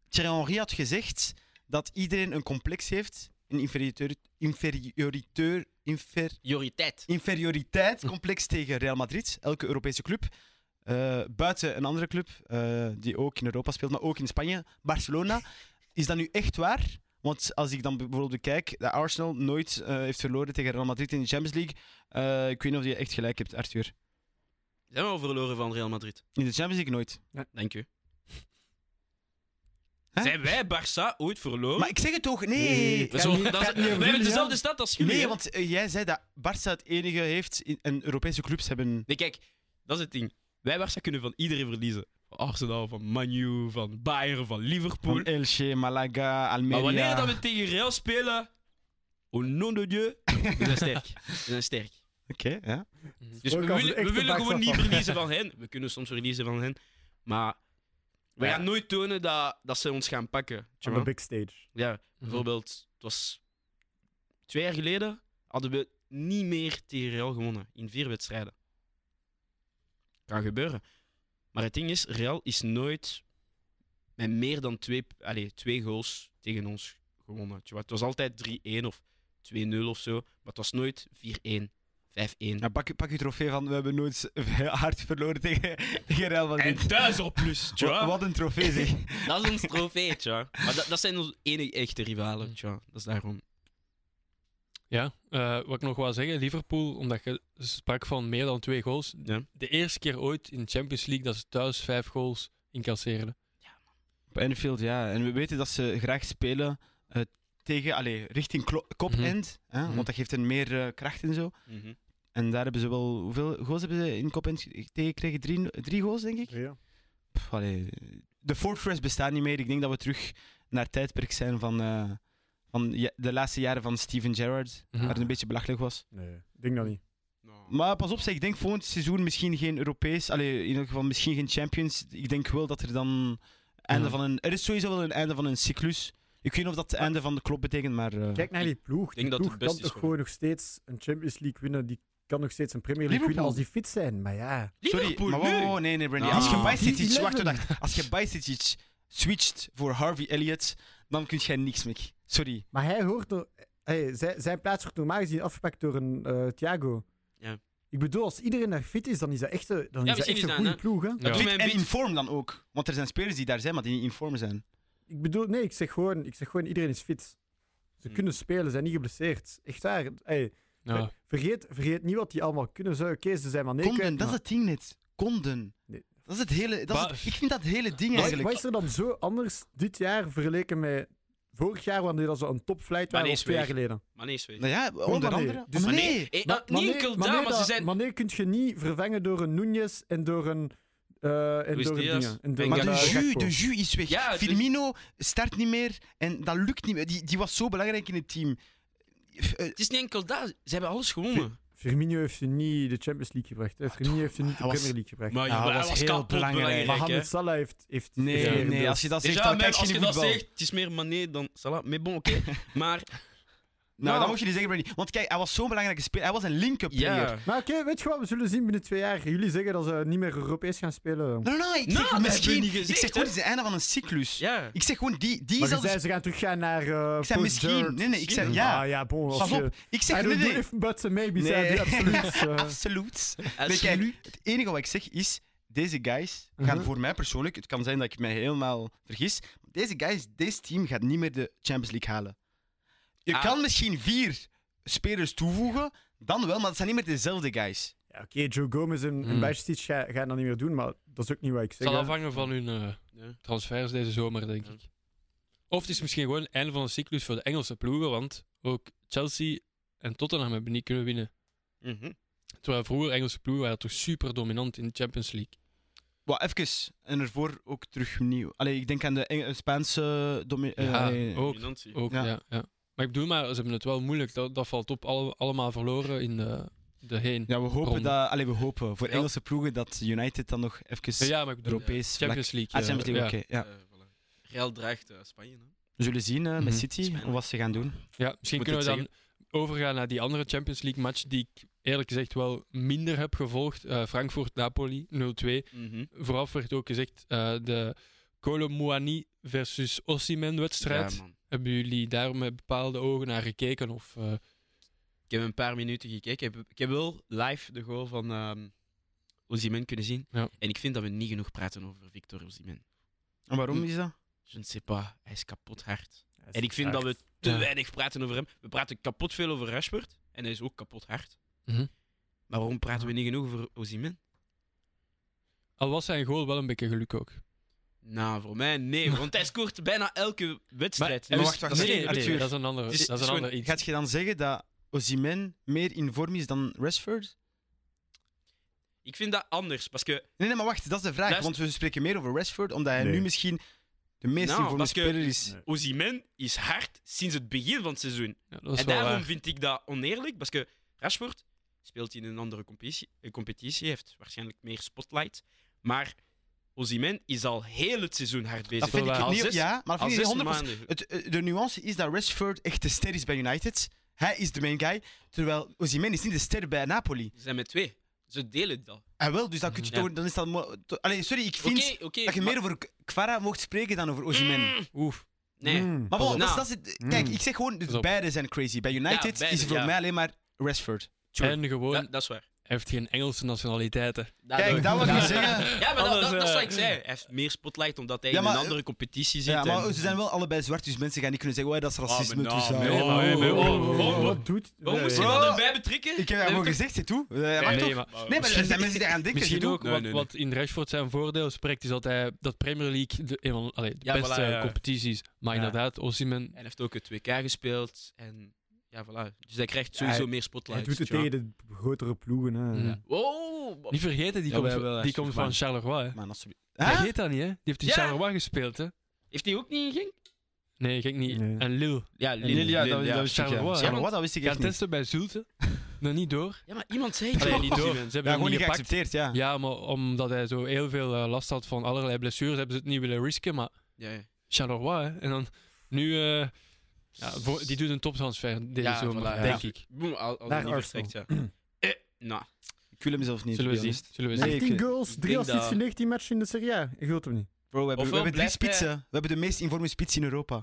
Thierry Henry had gezegd dat iedereen een complex heeft. Een inferieur, inferioriteur, infer,
Prioriteit.
inferioriteitscomplex tegen Real Madrid, elke Europese club. Eh, buiten een andere club eh, die ook in Europa speelt, maar ook in Spanje, Barcelona. Is dat nu echt waar? Want als ik dan bijvoorbeeld bekijk, dat Arsenal nooit eh, heeft verloren tegen Real Madrid in de Champions League. Eh, ik weet niet of je echt gelijk hebt, Arthur.
Zijn we al verloren van Real Madrid?
In de Champions League nooit.
Dank u.
Hè?
Zijn wij Barça ooit verloren?
Maar ik zeg het toch, nee.
Dat is wel- dat is- we hebben dezelfde stad als jullie.
Nee,
hè?
want eh, jij zei dat Barça het enige heeft in, en Europese clubs hebben.
Nee, kijk, dat is het ding. Wij Barça kunnen van iedereen verliezen. Arsenal, van Manu, van Bayern, van Liverpool.
Van Elche, Malaga, Almeria.
Maar wanneer dat we tegen Real spelen, au nom de Dieu, we zijn
(laughs)
sterk. We zijn sterk.
Oké, ja.
Dus
Ook
we
als
willen,
echte
we willen gewoon
backstop.
niet verliezen van hen. We kunnen soms verliezen van hen. Maar we
Ja.
gaan nooit tonen dat, dat ze ons gaan pakken.
On the big stage.
Ja, bijvoorbeeld, het was twee jaar geleden hadden we niet meer tegen Real gewonnen in vier wedstrijden. Kan gebeuren. Maar het ding is, Real is nooit met meer dan twee, allez, twee goals tegen ons gewonnen. Tjoh. Het was altijd 3-1 of 2-0 of zo, maar het was nooit 4-1, 5-1.
Ja, pak, je- pak je trofee van. We hebben nooit (laughs) hard verloren tegen, (laughs) tegen Real Madrid.
En thuis op plus, tjoh.
Wa- Wat een trofee,
(laughs)
zeg.
Dat is ons trofee, tjoh. Maar dat, dat zijn onze enige echte rivalen, tjoh. Dat is daarom.
Ja, eh, wat ik nog wil zeggen, Liverpool, omdat je sprak van meer dan twee goals.
Ja.
De eerste keer ooit in de Champions League dat ze thuis vijf goals incasseerden.
Op Anfield, ja. En we weten dat ze graag spelen eh, tegen, allee, richting klo- kop-end. hè,
Mhm.
Want dat geeft hen meer eh, kracht en zo.
Mhm.
En daar hebben ze wel... Hoeveel goals hebben ze in kop-end ge- tegengekregen? Drie, drie goals, denk ik?
Ja.
Pff, allee, de Fortress bestaat niet meer. Ik denk dat we terug naar het tijdperk zijn van, eh, van ja- de laatste jaren van Steven Gerrard.
Mhm.
Waar het een beetje belachelijk was.
Nee, ik denk dat niet.
Maar pas op, zeg, ik denk volgend seizoen misschien geen Europees. Allee, in ieder geval misschien geen Champions. Ik denk wel dat er dan einde
Ja.
van een. Er is sowieso wel een einde van een cyclus. Ik weet niet of dat het einde van de klop betekent, maar. eh,
Kijk naar die
denk
ploeg. Die
dat het
ploeg
best
kan
is
toch
voor
gewoon nog steeds een Champions League winnen. Die kan nog steeds een Premier League winnen
Liverpool.
als die fit zijn. Maar ja,
sorry, maar wow, wow, nee, nee, Brandy.
Ah.
Als je
Die-
Bajsicic,
die
wacht,
11.
wacht. Als je Bajsicic switcht voor Harvey Elliott, dan kun jij niks mee. Sorry.
maar hij hoort... er- Hey, zijn, zijn plaats wordt normaal gezien afgepakt door een eh, Thiago.
Ja.
Ik bedoel, als iedereen daar fit is, dan is dat echt, een- dan
Ja,
is dat
misschien
echt
is
een
dat,
goede
hè.
ploeg. Hè?
Ja.
doet mij een
En
beetje-
in vorm dan ook. Want er zijn spelers die daar zijn, maar die niet in vorm zijn.
Ik bedoel, nee, ik zeg gewoon, ik zeg gewoon iedereen is fit. Ze
Hmm.
kunnen spelen, zijn niet geblesseerd. Echt waar. Hey,
Ja.
vergeet, vergeet niet wat die allemaal kunnen. Zo, Oké, ze zijn maar nee.
Konden, dat is het ding net. Konden.
Nee.
Dat is het hele. Dat is het-
Maar-
ik vind dat het hele ding
Wat,
eigenlijk.
wat is er dan zo anders dit jaar vergeleken met vorig jaar, wanneer dat ze een topflight waren,
nee,
of twee
is
jaar geleden?
Mané is weg.
Nou ja, onder
maar nee.
andere.
Dus
maar
Mané-
nee.
eh, ah, niet
Mané-
enkel
Mané
daar, maar ze
dat-
zijn...
Mané kun je niet vervangen door een Nunez en door een... eh en
Luis
door een
Diaz.
dingen. En door
En
Maar
een,
de
Gakpo.
eh,
jus,
Gakpo.
de jus is weg.
Ja, dus- het is-
Firmino start niet meer en dat lukt niet meer. Die, die was zo belangrijk in het team. Eh,
Het is niet enkel daar, ze hebben alles gewonnen.
Firmino heeft ze niet de Champions League gebracht. Hè. Firmino heeft ze niet
Ah,
de
Hij was-
Premier League gebracht.
Maar
Ja,
hij
dat
was,
was heel
kapot
belangrijk.
belangrijk,
Maar
hè.
Mohamed Salah heeft... heeft
Nee,
heeft-
nee,
heeft-
als je dat zegt,
Déjà,
dan
man,
kijk je
als
niet
je dat
voetbal.
zegt, het is meer Mané dan Salah. Maar bon, oké. Maar
Nou,
Nou.
dat mocht je niet zeggen, Brandy. Want kijk, hij was zo'n belangrijke speler. Hij was een link-up player.
ja,
Maar oké, weet je wat? We zullen zien binnen twee jaar. Jullie zeggen dat ze niet meer Europees gaan spelen.
Nee, nee, nee, ik
Nou, dat
zeg
hebben we
misschien.
niet
ik
gezegd,
zeg gewoon,
hè.
het is het einde van een cyclus.
ja.
Ik zeg gewoon, die,
Maar
die
je
zelfs.
zei, ze gaan teruggaan naar... eh
Ik zei misschien. Nee, nee, ik zei ja.
Ah, ja, bon. Als
Pas
je,
op. Ik
I
zeg
don't
nee,
know
nee.
if buts and maybes.
Nee.
ja, die absoluut. eh.
(laughs) Absoluut.
Als
Nee,
je
kijk,
nu-
het enige wat ik zeg is, deze guys gaan
Uh-huh.
Mhm.
voor mij persoonlijk, het kan zijn dat ik mij helemaal vergis, maar deze guys, deze team gaat niet meer de Champions League halen. Je
Ah.
kan misschien vier spelers toevoegen, dan wel, maar dat zijn niet meer dezelfde guys.
Ja, oké, Joe Gomez en, en
Mm.
Hmm.
Bajstic ga- gaan dat niet meer doen, maar dat is ook niet wat ik
Het
zeg.
zal
hè.
afhangen van hun eh,
Ja.
transfers deze zomer, denk
Ja.
ik. Of het is misschien gewoon het einde van een cyclus voor de Engelse ploegen, want ook Chelsea en Tottenham hebben niet kunnen winnen.
Mhm.
Terwijl vroeger Engelse ploegen waren toch super dominant in de Champions League.
Wat even, en ervoor ook terug nieuw. Allee, ik denk aan de Eng- Spaanse... domi- eh,
Ja, Oh.
eh,
ook.
Dominantie.
Ook,
Ja.
ja. Ja, Maar ik bedoel maar, ze hebben het wel moeilijk. Dat, dat valt op. Alle- allemaal verloren in de, de heen. Ja.
Ja, we hopen,
Ronde.
dat, allee, we hopen voor
Ja.
Engelse ploegen dat United dan nog even...
ja, maar ik bedoel...
Europees. vlak-
Champions League.
Ah, Champions
eh,
League,
ja.
oké. ja.
Eh, voilà. Real dreigt eh, Spanje, hè.
We zullen zien eh, met
Mhm.
City
Spijnlijk.
wat ze gaan doen.
Ja, misschien
Moet
kunnen we
ik
dan overgaan naar die andere Champions League match die ik eerlijk gezegd wel minder heb gevolgd. Eh, Frankfurt-Napoli 0-2.
Mhm.
Vooraf werd ook gezegd eh de Colomouani versus Osimhen wedstrijd.
Ja, man.
Hebben jullie daar met bepaalde ogen naar gekeken? Of, eh,
Ik heb een paar minuten gekeken. Ik heb, ik heb wel live de goal van ehm Osimhen kunnen zien.
Ja.
En ik vind dat we niet genoeg praten over Victor Osimhen.
En waarom
Hm.
Mhm.
is dat?
Je ne sais pas, hij is kapot hard.
Hij is
En ik vind dat we
geraakt.
te
Ja.
weinig praten over hem. We praten kapot veel over Rashford. En hij is ook kapot hard.
Mhm.
Maar waarom praten we niet genoeg over Osimhen?
Al was zijn goal wel een beetje geluk ook.
Nou, voor mij
(laughs)
nee. Want hij scoort bijna elke wedstrijd.
Maar-
Dus-
wacht, wacht,
nee, nee,
misschien,
nee,
Arthur.
dat is een ander,
Het Oh, is-
dat is
het
een
is
ander iets.
Dus Gaat je dan zeggen dat Osimhen meer in vorm is dan Rashford?
Ik vind dat anders. Parce que,
Nee, nee, maar wacht, dat is de vraag.
Luister-
Want we spreken meer over Rashford, omdat hij
Nee.
nu misschien de meest
Nou,
informele
parce que-
speler is.
Nee.
Osimhen is hard sinds het begin van het seizoen.
Ja, dat is
En
wel
daarom
waar.
vind ik dat oneerlijk. Parce que Rashford speelt in een andere competitie, eh, competitie heeft waarschijnlijk meer spotlight. Maar Osimhen is al heel het seizoen hard bezig.
Dat vind ik
wel waar.
al
niet,
zes,
ja, maar dat
al
vind ik
zes
niet 100%.
maanden.
Het, eh, de nuance is dat Rashford echt de ster is bij United. Hij is de main guy, terwijl Osimhen is niet de ster bij Napoli.
Ze zijn met twee. Ze delen dat.
En wel, dus dan kun je
Ja.
toch... Dan is dat mo- to- Allee, sorry, ik
Oké,
vind
Mhm. oké.
dat je
maar-
meer over K- Kvara mocht spreken dan over Osimhen.
Mm,
Oef.
Nee.
Mm.
Maar bon,
Pas op.
dat is- dat is het-
Mm.
kijk, ik zeg gewoon, dus
Pas op.
beide zijn crazy. Bij United
beide,
is voor
ja.
mij alleen maar Rashford.
True.
En gewoon,
Ja,
hij
dat is waar.
heeft geen Engelse nationaliteiten.
Kijk, dat wil
Ja,
ik
ja. Ja,
zeggen.
maar dat,
Anders,
dat, dat is wat
eh,
ik zei. Hij heeft meer spotlight omdat hij
Ja,
in
maar-
een andere competitie zit.
Ja, maar
en-
ze zijn wel allebei zwart, dus mensen gaan niet kunnen zeggen, oh, dat is racisme.
nou,
tussen-
nee,
Oh,
maar-
oh,
nee, maar-
oh,
oh,
oh,
oh,
oh.
oh.
Wat doet...
Waarom moest je
Bro.
dat erbij betrekken?
Ik heb dat
We
gewoon
hebben
gezegd, zit toe. Eh, mag toch?
nee, maar
toch-
Nee, maar er zijn mensen die gaan denken,
Misschien
zit toe.
ook,
Nee,
wat,
nee,
wat in Rashford zijn voordeel spreekt, is dat hij dat Premier League de, een van allee, de
Ja,
beste
voilà, ja.
competities. Maar
Ja.
inderdaad, Osimhen
(laughs) Hij heeft ook het WK gespeeld. En ja, voilà. Dus hij krijgt
Ja,
sowieso
hij-
meer
Hij
spotlight.
doet het
ja.
tegen de grotere ploegen. Hè.
Mm.
Wow!
Niet vergeten, die
Oh. Ja,
komt,
wel, wel,
die
alsjeblieft,
komt van
man.
Charleroi. Hè.
Man, alsjeblieft. Hè?
Vergeet dat niet, hè? Die heeft in
Ja.
Charleroi gespeeld, hè?
Heeft hij ook niet in Genk?
Nee, gek niet.
Nee.
En Lille.
Ja,
Lille, ja, dat wist- dat wist ik, ja.
Charleroi.
Charleroi, dat wist ik
Gaan
echt niet.
testen bij Zulte. Nog niet door.
Ja, maar iemand zei het
Allee,
wel.
niet door. Ze hebben
Ja,
hem
gewoon
niet
niet
gepakt.
geaccepteerd, ja.
Ja, maar omdat hij zo heel veel eh, last had van allerlei blessures, hebben ze het niet willen risken. Maar
Ja, ja.
Charleroi, hè? En dan nu... eh, ja, voor- die doet een toptransfer deze
Ja,
zomer,
voilà,
denk
ja.
ik.
Boem, al, al
Naar
niet
Arsenal.
perfect, ja. Eh, nou,
Ik wil hem zelf niet.
Zullen we
to be
zien.
honest.
Zullen we
Nee,
zien.
18
ik-
goals,
ik
3
denk
assists
dat-
in 19 matchen in de Serie A. Ik geloof hem niet.
Bro, we hebben, we
Ofwel
hebben drie
blijft hij-
spitsen. We hebben de meest informe spits in Europa.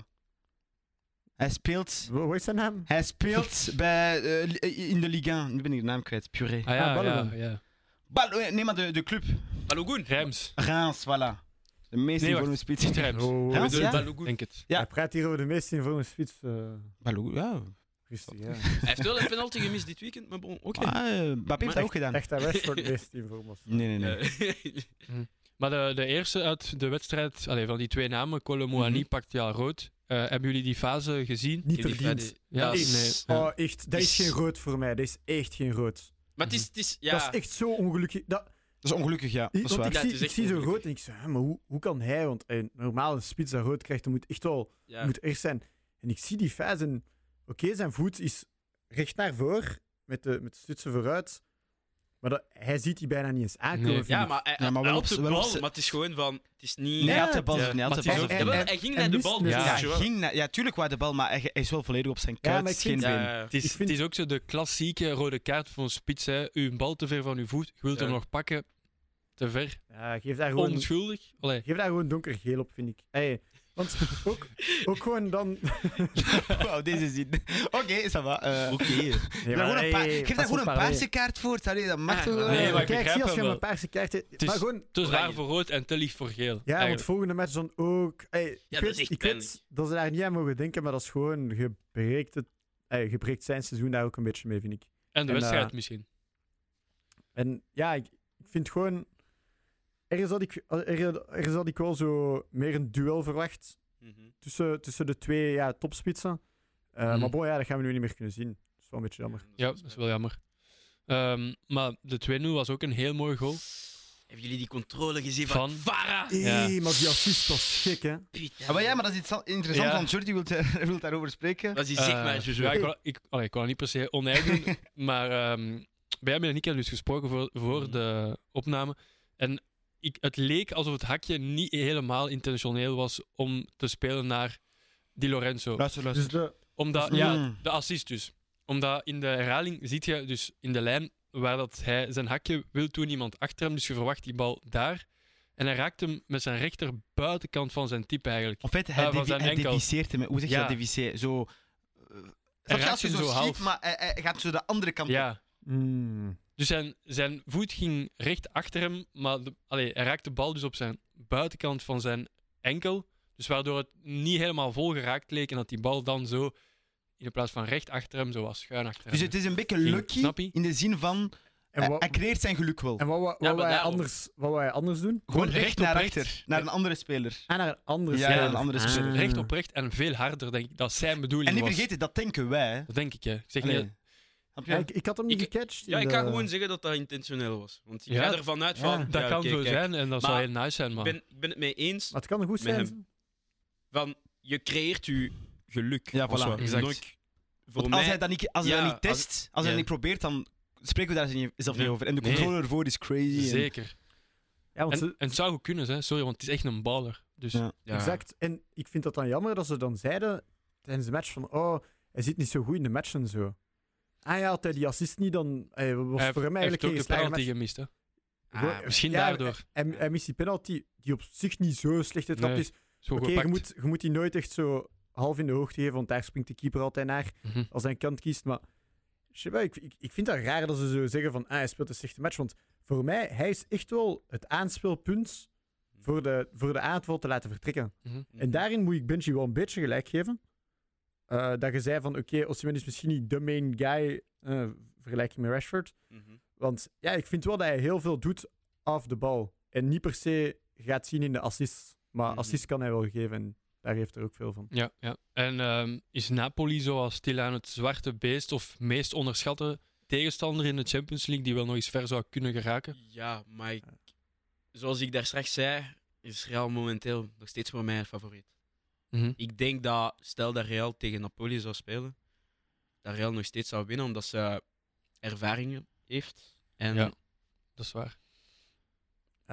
Hij speelt...
Wa- Wat is zijn naam?
Hij speelt bij, eh, li- eh, in de Ligue 1. Nu ben ik de naam kwijt. Puree.
Ah ja,
Ah,
ja,
Balogun.
ja.
Bal- eh, nee, maar de, de club.
Balogun.
Reims.
Reims, voilà. De meest
Nee,
informe
(laughs)
spits.
Niet Reims.
Oh,
Hè?
oh,
Ja.
Balogun.
Denk het.
Ja.
Hij praat hier over de meeste informe spits. eh,
Balou, ja.
rustig, ja.
Hij heeft wel een penalty gemist dit weekend, maar bon, oké.
Ah, eh, Mbappé heeft dat ook gedaan.
Echt, hij was voor de meeste informe spits.
Nee, nee, nee.
Eh, (laughs)
Maar de, de eerste uit de wedstrijd, allee, van die twee namen, Colomoani
Mhm.
pakt ja rood. Eh, hebben jullie die fase gezien?
(laughs) Niet
die-
verdiend.
Ja,
Dat is-
nee.
Oh, echt. Dat is
Is-
geen rood voor mij. Dat is echt geen rood.
Maar het is, het is, ja...
Dat is echt zo ongelukkig. Dat,
Dat is ongelukkig, ja. Dat is
want
waar.
ik
Ja,
zie,
het is
ik
echt
zie zo
ongelukkig.
rood en ik zeg, hè, maar hoe, hoe kan hij? Want eh, een normale spits dat rood krijgt, dat moet echt wel
ja.
moet erg zijn. En ik zie die Fijs en oké, zijn voet is recht naar voren, met de, met de stutsen vooruit. Maar dat, hij ziet die bijna niet eens aankomen.
Nee.
vind
Ja,
ik.
maar hij,
Ja, maar
hij
wel
op de
op- wel op
bal,
ze-
maar het is gewoon van... Het is niet...
Nee, hij had de
het-
bal
ja,
of niet. Hij had
maar
de
het
bal
is
of
ook-
niet.
Ja, wel,
en-
hij ging
en
naar de
mist
bal,
met-
dus
Ja,
dat
Ja,
is wel-
ging naar- ja, tuurlijk waar de bal, maar hij, hij is wel volledig op zijn
Ja,
kuit,
maar ik
geen
vind-
been.
Ja,
Het is,
Ik vind-
het is ook zo de klassieke rode kaart voor een spits. Hè. Uw bal te ver van uw voet, je wilt
Ja.
hem nog pakken. Te ver.
Ja, geef, daar gewoon,
Onschuldig. Allee.
geef daar gewoon donkergeel op, vind ik. Ey, want ook, ook gewoon dan... Nee,
(laughs) Wauw, deze zin. Oké, ça va. eh.
Oké.
Geef daar gewoon een
ey,
paar-
ey,
geef daar
pas
gewoon
op,
een
Paré.
paarse kaart voor. Allee, dat mag
Ah,
toch wel?
Nee, maar ik
Kijk,
begrijp
zie
hem
als je maar
wel.
een paarse kaart hebt.
is-
Maar gewoon...
Te zwaar
Oranje.
voor rood en te lief voor geel.
Ja, want
eigenlijk.
volgende match dan ook. Ey, ik
dat
weet,
is echt
ik weet dat ze daar niet aan mogen denken, maar dat is gewoon... Je breekt, het, ey, je breekt zijn seizoen daar ook een beetje mee, vind ik.
En de
en,
wedstrijd
eh,
misschien.
En ja, ik, ik vind gewoon. Ergens had, ik, er- ergens had ik wel zo meer een duel verwacht
Mhm.
tussen, tussen de twee ja, topspitsen. Eh,
Mhm.
Maar bon, ja, dat gaan we nu niet meer kunnen zien. Dat is wel een beetje jammer.
Ja, dat is wel jammer. Ehm, maar de 2-0 was ook een heel mooi goal.
Hebben jullie die controle gezien van, Ah,
Van?
Vara?
Ja.
Hé, maar die assist was gek, hè?
Pieter.
Ja, Ah, maar, ja, maar dat is iets al- interessants,
Ja.
want Jordi wil (laughs) wil daarover spreken.
Was die zeg
Eh,
maar, Jojo?
ja, ik, wou, ik, allee, ik wou niet per se oneer (laughs) doen, maar ehm Benjamin en ik hebben dus gesproken voor, voor
Mhm.
de opname. En ik, het leek alsof het hakje niet helemaal intentioneel was om te spelen naar Di Lorenzo.
Luister,
Dus de,
Omdat,
Mm.
Ah, ja, de assist dus. Omdat in de herhaling ziet je dus in de lijn waar dat hij zijn hakje wil doen, iemand achter hem. Dus je verwacht die bal daar. En hij raakt hem met zijn rechter buitenkant van zijn type eigenlijk.
Op feite,
Ja,
hij,
Ah, van
devi-
zijn
hij
enkel.
deviseert hem. Hoe zeg je
Ja.
dat, deviceer? Zo... eh, snap je,
raakt
als je
hem
zo,
zo
schiet,
half.
maar hij, hij gaat zo de andere kant op.
Ja.
Mm.
Dus zijn, zijn voet ging recht achter hem, maar de, allee, hij raakte de bal dus op zijn buitenkant van zijn enkel. Dus waardoor het niet helemaal vol geraakt leek en dat die bal dan zo, in plaats van recht achter hem, zo was schuin achter
Dus
hem.
het is een beetje
Ging-
lucky,
snap je?
in de zin van...
En
hij-
wat,
hij creëert zijn geluk wel.
en wat, wat,
Eh, maar
wat wij
daarom.
anders, wat wij anders doen?
Gewoon
recht
recht
op
naar
recht.
achter, naar een andere speler.
En naar een andere
Ja,
speler.
een
andere speler.
Ah.
Recht op recht en veel harder, denk ik. Dat is zijn bedoeling
En niet
was.
vergeten, dat denken wij. hè.
Dat denk ik, hè. Ik zeg niet
Allee.
dat-
Snap je?
Ja, ik, ik had hem niet
Ik-
gecatcht.
Ja,
in
ik kan
de-
gewoon zeggen dat dat intentioneel was. Want ik
Ja,
ga ervan uit van...
ja.
Dat
ja,
kan
oké,
zo
kijk,
zijn en dat zou
Maar-
heel nice zijn,
Ik
maar...
ben, ik ben het mee eens
Maar het kan goed
Met
zijn.
van je creëert je geluk.
Ja,
Als
voilà,
wat.
exact.
En ik- Voor
Want
mij...
als hij dat niet, als hij
Ja,
dat niet
als-
test, als, hij
ja.
dat niet probeert, dan spreken we daar zelf niet
Nee.
over. En de
Nee.
controle ervoor is crazy. en-
Zeker.
Ja, want
En,
ze-
en het zou goed kunnen zijn, sorry, want het is echt een baller. Dus
Ja.
Ja.
Exact. En ik vind dat dan jammer dat ze dan zeiden tijdens de match van oh, hij zit niet zo goed in de match en zo. Ah ja, had hij die assist niet dan... Hij was
hij heeft,
voor hem
hij heeft
eigenlijk
ook
geen
de
geslaagde
penalty
match.
gemist, hè.
Ah,
Goh,
Misschien
ja, eh,
daardoor.
Hij, hij mist die penalty, die op zich niet zo slecht getrapt
Nee,
is.
Zo
Oké, je,
gepakt.
moet, je moet die nooit echt zo half in de hoogte geven, want daar springt de keeper altijd naar
Mhm.
als hij een kant kiest. Maar Sheba, ik, ik, ik vind dat raar dat ze zo zeggen van ah, hij speelt een slechte match. Want voor mij, hij is echt wel het aanspeelpunt voor de, voor de aanval te laten vertrekken.
Mhm.
En daarin moet ik Benji wel een beetje gelijk geven. Eh, dat je zei van, oké, Osimhen is misschien niet de main guy, eh vergelijking met Rashford.
Mhm.
Want ja, ik vind wel dat hij heel veel doet af de bal. En niet per se gaat zien in de assists. Maar
Mhm.
assists kan hij wel geven en daar heeft hij ook veel van.
Ja, ja. En ehm, is Napoli zoals stilaan het zwarte beest of meest onderschatte tegenstander in de Champions League die wel nog eens ver zou kunnen geraken?
Ja, maar ik- zoals ik daar straks zei, is Real momenteel nog steeds voor mij favoriet.
Mhm.
Ik denk dat, stel dat Real tegen Napoli zou spelen, dat Real nog steeds zou winnen, omdat ze ervaring heeft. En
Ja. Dat is waar.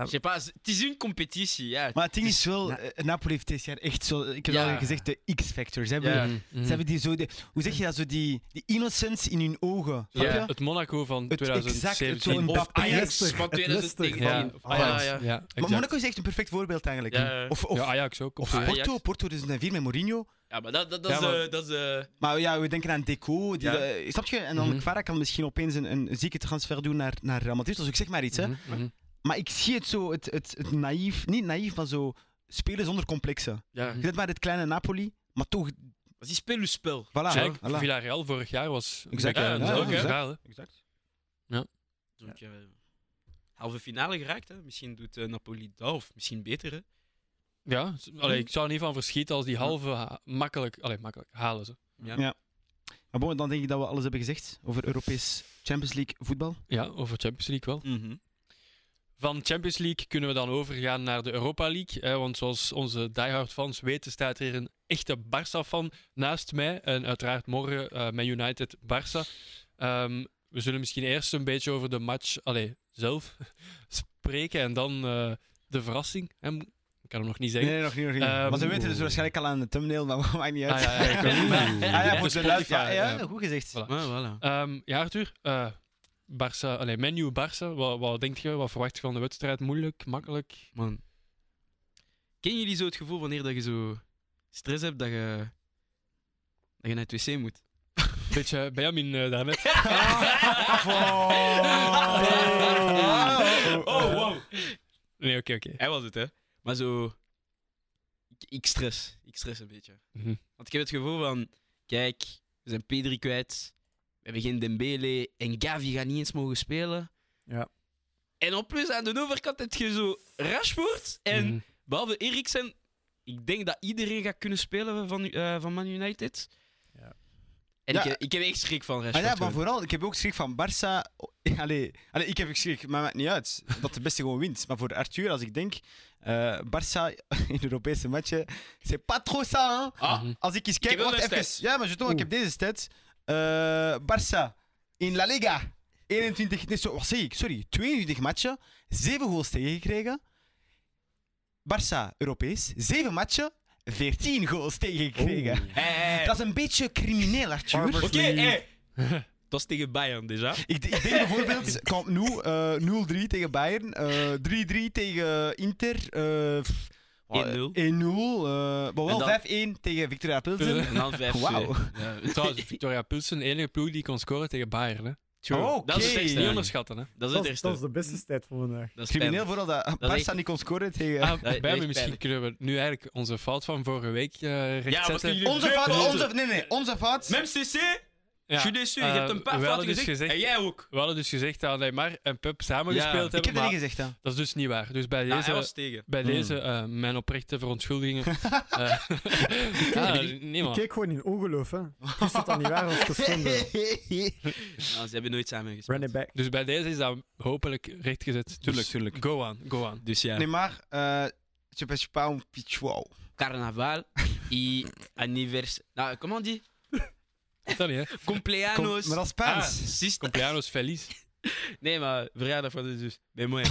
ik weet pas, het is een competitie, ja.
Maar het ding
Het
is wel,
Na-
eh, Napoli heeft dit jaar echt zo, ik heb
Ja.
al gezegd, de X-factor. Ze hebben,
Ja.
Mhm, mhm.
ze hebben die zo, de, hoe zeg je dat, zo die, die innocence in hun ogen. snap
Ja.
je?
Het Monaco van
Het exact, het zo'n
2017.
bak-
Of Ajax
Leicester,
van
het Leicester
2019.
ja,
van-
of
Ah, ja,
Ajax.
ja.
Ja,
Maar
exact.
Monaco is echt een perfect voorbeeld eigenlijk.
Ja.
Of, of,
Ja, Ajax ook.
of
op-
Ajax.
Porto, Porto 2004 met Mourinho.
Ja, maar dat, dat, dat
Ja,
is...
maar-
eh, dat is eh,
Maar ja, we denken aan Deco. Die,
Ja.
eh, snap je? En dan
Mhm.
Kvara kan misschien opeens een, een zieke transfer doen naar, naar Real Madrid. Dus ik zeg maar iets, hè.
Mhm, mhm.
Maar ik zie het zo, het, het, het naïef, niet naïef, maar zo spelen zonder complexen.
ja.
Je zet maar dit kleine Napoli, maar toch, voilà.
Dat is speel uw spel.
Eigenlijk,
voilà.
Villarreal vorig jaar was een
Exact,
beetje
ja,
een
ja,
hetzelfde
exact.
verhaal, hè.
Exact.
Dus, eh, halve finale geraakt, hè. Misschien doet eh, Napoli dat, of misschien beter, hè.
Ja, z- allee, ik zou er niet van verschieten als die halve ha- makkelijk, allee, makkelijk halen ze.
Ja.
Ja. Maar bon, dan denk ik dat we alles hebben gezegd over Europees Champions League voetbal.
Ja, over Champions League wel.
Mhm.
Van Champions League kunnen we dan overgaan naar de Europa League. Hè, want zoals onze diehard fans weten, staat er een echte Barça-fan naast mij. En uiteraard morgen eh, met United Barça. Ehm, we zullen misschien eerst een beetje over de match allee, zelf (laughs) spreken. En dan eh, de verrassing. Hè, ik kan hem nog niet zeggen.
nog niet. Nog
Ehm,
maar ze weten dus waarschijnlijk al aan de thumbnail, maar (laughs) maakt niet uit.
Ah, ja, ja, ik weet het.
Maar-
Maar-
(laughs) Ah, ja,
op
voor de
Spotify,
luid- ja, ja,
ja.
goed gezegd.
Voilà.
Ja, voilà.
Ehm, ja, Arthur. eh Barça, allee, menu Barça. Wat, wat denk je? Wat verwacht je van de wedstrijd? Moeilijk? Makkelijk?
Man. Ken jullie zo het gevoel wanneer dat je zo stress hebt dat je, dat je naar het wc
(laughs)
moet?
Beetje (laughs) Benjamin eh
(laughs)
daarnet. Ah.
Oh.
Oh, wow.
Nee, oké, oké.
Hij was het, hè? Maar zo. Ik, ik stress. Ik stress een beetje.
Mhm.
Want ik heb het gevoel van: kijk, we zijn Pedri kwijt. We hebben geen Dembele. En Gavi gaat niet eens mogen spelen.
Ja.
En op plus aan de overkant heb je zo Rashford. En
Mhm.
behalve Eriksen, ik denk dat iedereen gaat kunnen spelen van, eh, van Man United.
Ja.
En
Ja.
ik, ik heb echt schrik van
Maar
Rashford.
ja, maar
gewoon.
vooral, ik heb ook schrik van Barça. (laughs) Oh, Allee, allee, ik heb ook schrik, maar maakt niet uit. Dat de beste gewoon wint. Maar voor Arthur, als ik denk, eh Barça (laughs) in Europese matchen, c'est pas trop ça, hein.
Ah,
Mhm.
Als ik eens kijk,
heb wel
wacht
een
even.
stat.
Ja, maar je ik heb deze stat. Eh Barça in La Liga. 21, nee, zo, wat zeg ik? Sorry, 22 matchen, 7 goals tegengekregen. Barça Europees, 7 matchen, 14 goals tegengekregen.
hey, hey, hey.
Dat is een beetje crimineel, Arthur.
Oké, eh, hey. Dat is tegen Bayern, dus, déjà.
Ik, ik denk bijvoorbeeld (laughs) Camp Nou, eh, 0-3 tegen Bayern, eh, 3-3 tegen Inter, eh, pff,
1-0.
1-0, eh, maar
En
wel
dan-
5-1 tegen Victoria Pilsen.
En dan 5
Wauw.
Trouwens, Victoria Pilsen, de enige ploeg die kon scoren tegen Bayern. Hè?
Oh, Oké.
Dat is het
Niet
eerste.
onderschatten, hè?
Dat is
Dat
het
is, dat is
eerste.
de beste tijd van vandaag.
Dat is
Crimineel
pijnlijk.
vooral dat
Dat is
Barca
echt-
niet kon scoren tegen...
Ah,
dat is
Benjamin, misschien
pijnlijk.
kunnen we nu eigenlijk onze fout van vorige week eh
Ja, wat
rechtzetten.
kunnen jullie-
Onze
Onze
fout,
fouten.
onze, nee, nee, onze fout.
Même CC,
Ja.
Je suis sûr,
Eh,
je hebt een paar
we
fouten
hadden dus
gezegd.
gezegd-
En jij ook.
We hadden dus gezegd dat Neymar en Pep samen
Ja.
gespeeld
Ik
hebben,
heb dat
maar
niet gezegd, hè.
dat is dus niet waar. Dus bij deze,
Ja, Nou, Ah, hij was tegen.
bij
Hmm.
deze eh, mijn oprechte verontschuldigingen. Eh, ah, ja, nee,
Ik
man.
keek gewoon in ongeloof, hè. Ik wist dat dat niet waar was gevonden.
Nou, ze hebben nooit samen gespeeld.
Run it back.
Dus bij deze is dat hopelijk rechtgezet. Dus
Tuurlijk, tuurlijk.
Go on, go on.
Dus ja.
Nee, maar... eh, Je pense pas un pichouau.
Carnaval y anniversaire. Nou, comment on dit?
Dat niet, hè?
Kom-
Compleanos.
Maar dat is
Ah,
Spaans.
sis-
Compleanos feliz.
Nee, maar verjaardag van de zus. Bij mij.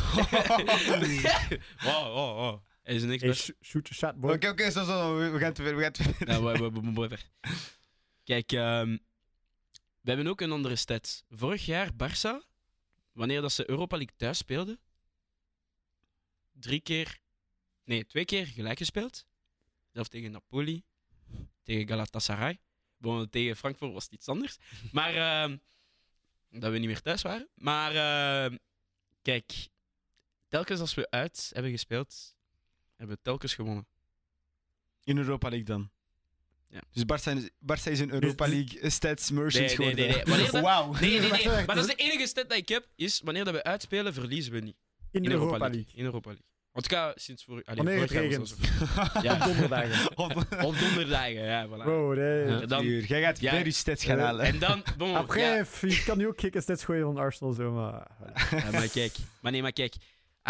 (laughs) Oh, oh, oh. Er is niks
Hey,
best.
sh- shoot your shot, boy.
(laughs) Oké, oké, zo, zo, we- we gaan te ver, we gaan te ver.
Nou, we hebben ver. Kijk, ehm, we hebben ook een andere stat. Vorig jaar Barça, wanneer dat ze Europa League thuis speelden, drie keer, nee, twee keer gelijk gespeeld. Zelf tegen Napoli, tegen Galatasaray. Bon, tegen Frankfurt was het iets anders. (laughs) Maar ehm, dat we niet meer thuis waren. Maar ehm, kijk, telkens als we uit hebben gespeeld, hebben we telkens gewonnen.
In Europa League dan.
Ja.
Dus Barça is, Barça is in Europa
Dus-
League eh, stats merchants
Nee, nee,
geworden.
nee, nee.
(laughs)
Wanneer dat-
Wauw.
Nee, nee, nee.
Wacht,
Maar dat is
wacht.
de enige stat dat ik heb, is wanneer dat we uitspelen, verliezen we niet.
In de Europa League.
In Europa League. Want ik ga sinds voor... allee,
Wanneer het
vorig jaar was
regent.
dat zo.
(laughs) Op
Ja,
(laughs)
donderdagen.
op donderdagen, ja, voilà.
Bro, nee.
Ja.
En dan...
Uur. Jij gaat
Ja.
ver je stats gaan
Eh,
halen.
En dan bon,
Après,
Mm.
(laughs)
ja.
f- je kan nu ook kicken steeds gooien van Arsenal, zo, maar...
Ja, maar kijk. Maar nee, maar kijk. I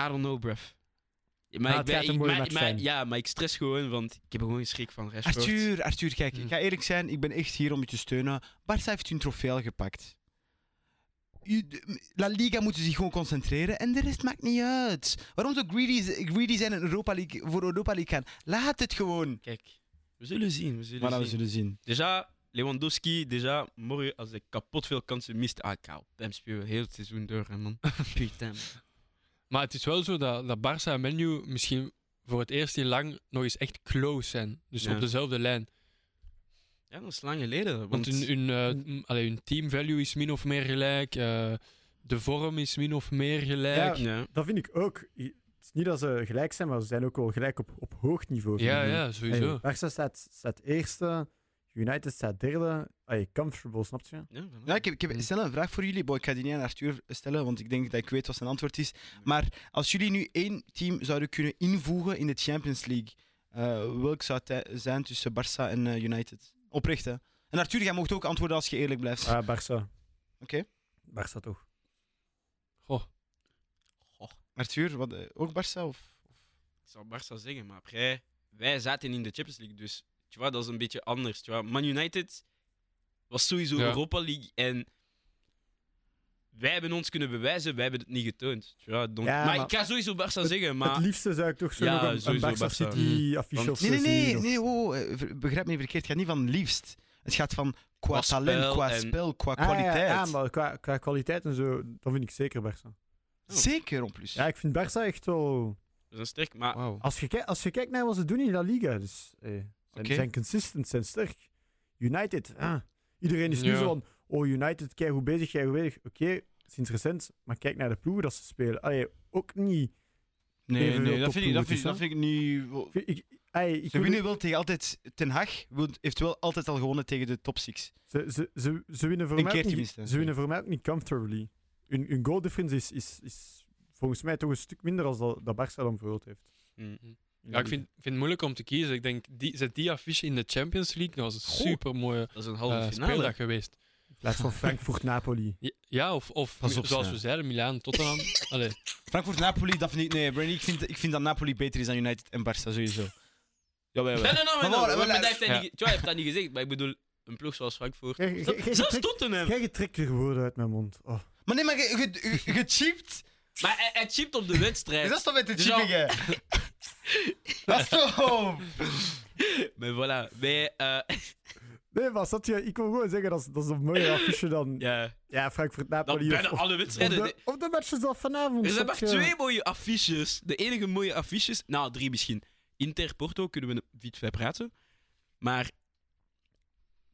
don't know, bruv. Ja, Maar ik
Ah, het
ben,
gaat een
ik-
mooie
maar-
match
maar-
zijn.
Ja, maar ik stress gewoon, want ik heb gewoon een schrik van Rashford.
Arthur, Arthur, kijk,
Hm.
ik ga eerlijk zijn, ik ben echt hier om je te steunen. Barça heeft hun trofee al gepakt. U- de- La Liga moeten zich gewoon concentreren en de rest maakt niet uit. Waarom zo greedy, z- greedy zijn en Europa League, voor Europa League gaan? Laat het gewoon.
Kijk, we zullen zien, we zullen
Maar
zien.
we zullen zien.
Déjà, Lewandowski, déjà, morgen als ik kapot veel kansen mist, ah, ik ga op hem spelen heel het seizoen door, hè,
(laughs)
man. Putain.
Maar het is wel zo dat, dat Barça en Menu misschien voor het eerst in lang nog eens echt close zijn. Dus
Ja.
op dezelfde lijn.
Ja, dat is lang geleden.
Want
Want,
hun, hun, eh, m- allee, hun team value is min of meer gelijk. eh, de vorm is min of meer gelijk.
Ja. Dat vind ik ook. I- Het is niet dat ze gelijk zijn, maar ze zijn ook wel gelijk op, op hoog niveau. vind
Ja,
ik.
ja,
Hey,
sowieso.
Barca staat, staat eerste, United staat derde. Hey, comfortable, snap je?
Ja, voilà.
Ja, ik heb, ik heb
Hm.
snel een vraag voor jullie. Boy, ik ga die niet aan Arthur stellen, want ik denk dat ik weet wat zijn antwoord is. Maar als jullie nu één team zouden kunnen invoegen in de Champions League, eh, welk zou het tij- zijn tussen Barça en eh, United? Oprecht, hè? En Arthur, jij mocht ook antwoorden als je eerlijk blijft.
Ah, Barca.
Oké.
Barca toch.
Goh.
Arthur, wat, eh, ook Barça? Of?
Ik zou Barça zeggen, maar après, wij zaten in de Champions League, dus tu vois, dat is een beetje anders. Tu vois. Man United was sowieso
Ja.
Europa League en wij hebben ons kunnen bewijzen, wij hebben het niet getoond. Tu vois. Donc,
Ja,
maar,
maar-
ik ga sowieso Barça zeggen,
Het
maar
liefste zou ik toch zo
Ja,
nog een- een,
sowieso
Barca
Barca.
City affiche
Want-
of zo
Nee, nee, nee,
zien, of-
nee oh, oh, eh, ver- begrijp me niet verkeerd. Het gaat niet van liefst. Het gaat van qua,
Qua
talent,
spel
qua
en-
spel, qua
Ah, ja,
kwaliteit.
Ja, maar qua, qua kwaliteit en zo, dan vind ik zeker Barca.
Zeker, om plus.
Ja, ik vind Barca echt wel...
we zijn sterk. Maar
Wauw.
Als je, kijk- als je kijkt naar wat ze doen in La Liga, dus, eh, zijn,
Oké.
zijn consistent, zijn sterk. United, ah, iedereen is nu
Ja.
zo van, oh United, kijk hoe bezig, kijk hoe bezig. Oké, sinds recent, maar kijk naar de ploegen dat ze spelen. Allee, ook niet.
Nee,
Evenveel
nee dat, vind ik, dat,
topploegen,
vind, ik-
hè?
dat vind ik niet...
Ik, ik, allee, ik
Ze
wil-
winnen wel tegen altijd. Ten Hag wil- heeft wel altijd al gewonnen tegen de top 6.
ze, ze, ze, ze winnen voor
Een
mij ook
keertje
niet-
minstens,
Ze winnen voor mij ook niet comfortably. Hun, hun goal difference is, is, is volgens mij toch een stuk minder dan dat, dat Barca dan bijvoorbeeld heeft.
Mhm.
Ja, ik vind, vind het moeilijk om te kiezen. Ik denk, die, zet die affiche in de Champions League. Dat was een
Goh.
super mooie
dat is een halve finale.
eh, speeldag geweest.
In plaats van Frankfurt-Napoli.
Ja, Ja, of, of
Pas op,
zoals
Sam.
we zeiden, Milaan,
(laughs)
Tottenham. Allee.
Frankfurt-Napoli, dat vind ik. Nee, Brandy, ik vind, ik vind dat Napoli beter is dan United en Barça sowieso. Jawel,
Nee, nee, nee, nee,
Maar waar-
nee,
waar-
maar dat heeft hij
Ja.
niet ge- tu vois, hij heeft dat niet gezegd, maar ik bedoel, een ploeg zoals Frankfurt.
(laughs) Jij- jij- jij-
Zelfs
jij- (laughs)
Tottenham.
Jij trekt weer woorden uit mijn mond. Oh.
Maar nee, maar ge- ge- ge- gechipt?
Maar hij, hij chipt op de wedstrijd.
Dat is toch met de
Dus
chipping, hè? Dat is toch.
Maar voilà, wij, eh, (laughs)
Nee, maar zat je, ik wil gewoon zeggen, dat is, dat is een mooie affiche dan. Ja,
ja, dan
Frankfurt-Napoli.
bijna
of- of-
alle
Op
wedstrijden.
de, op de matches al vanavond.
Er zijn maar
zat je-
twee mooie affiches. De enige mooie affiches. Nou, drie misschien. Inter Porto kunnen we niet ver praten. Maar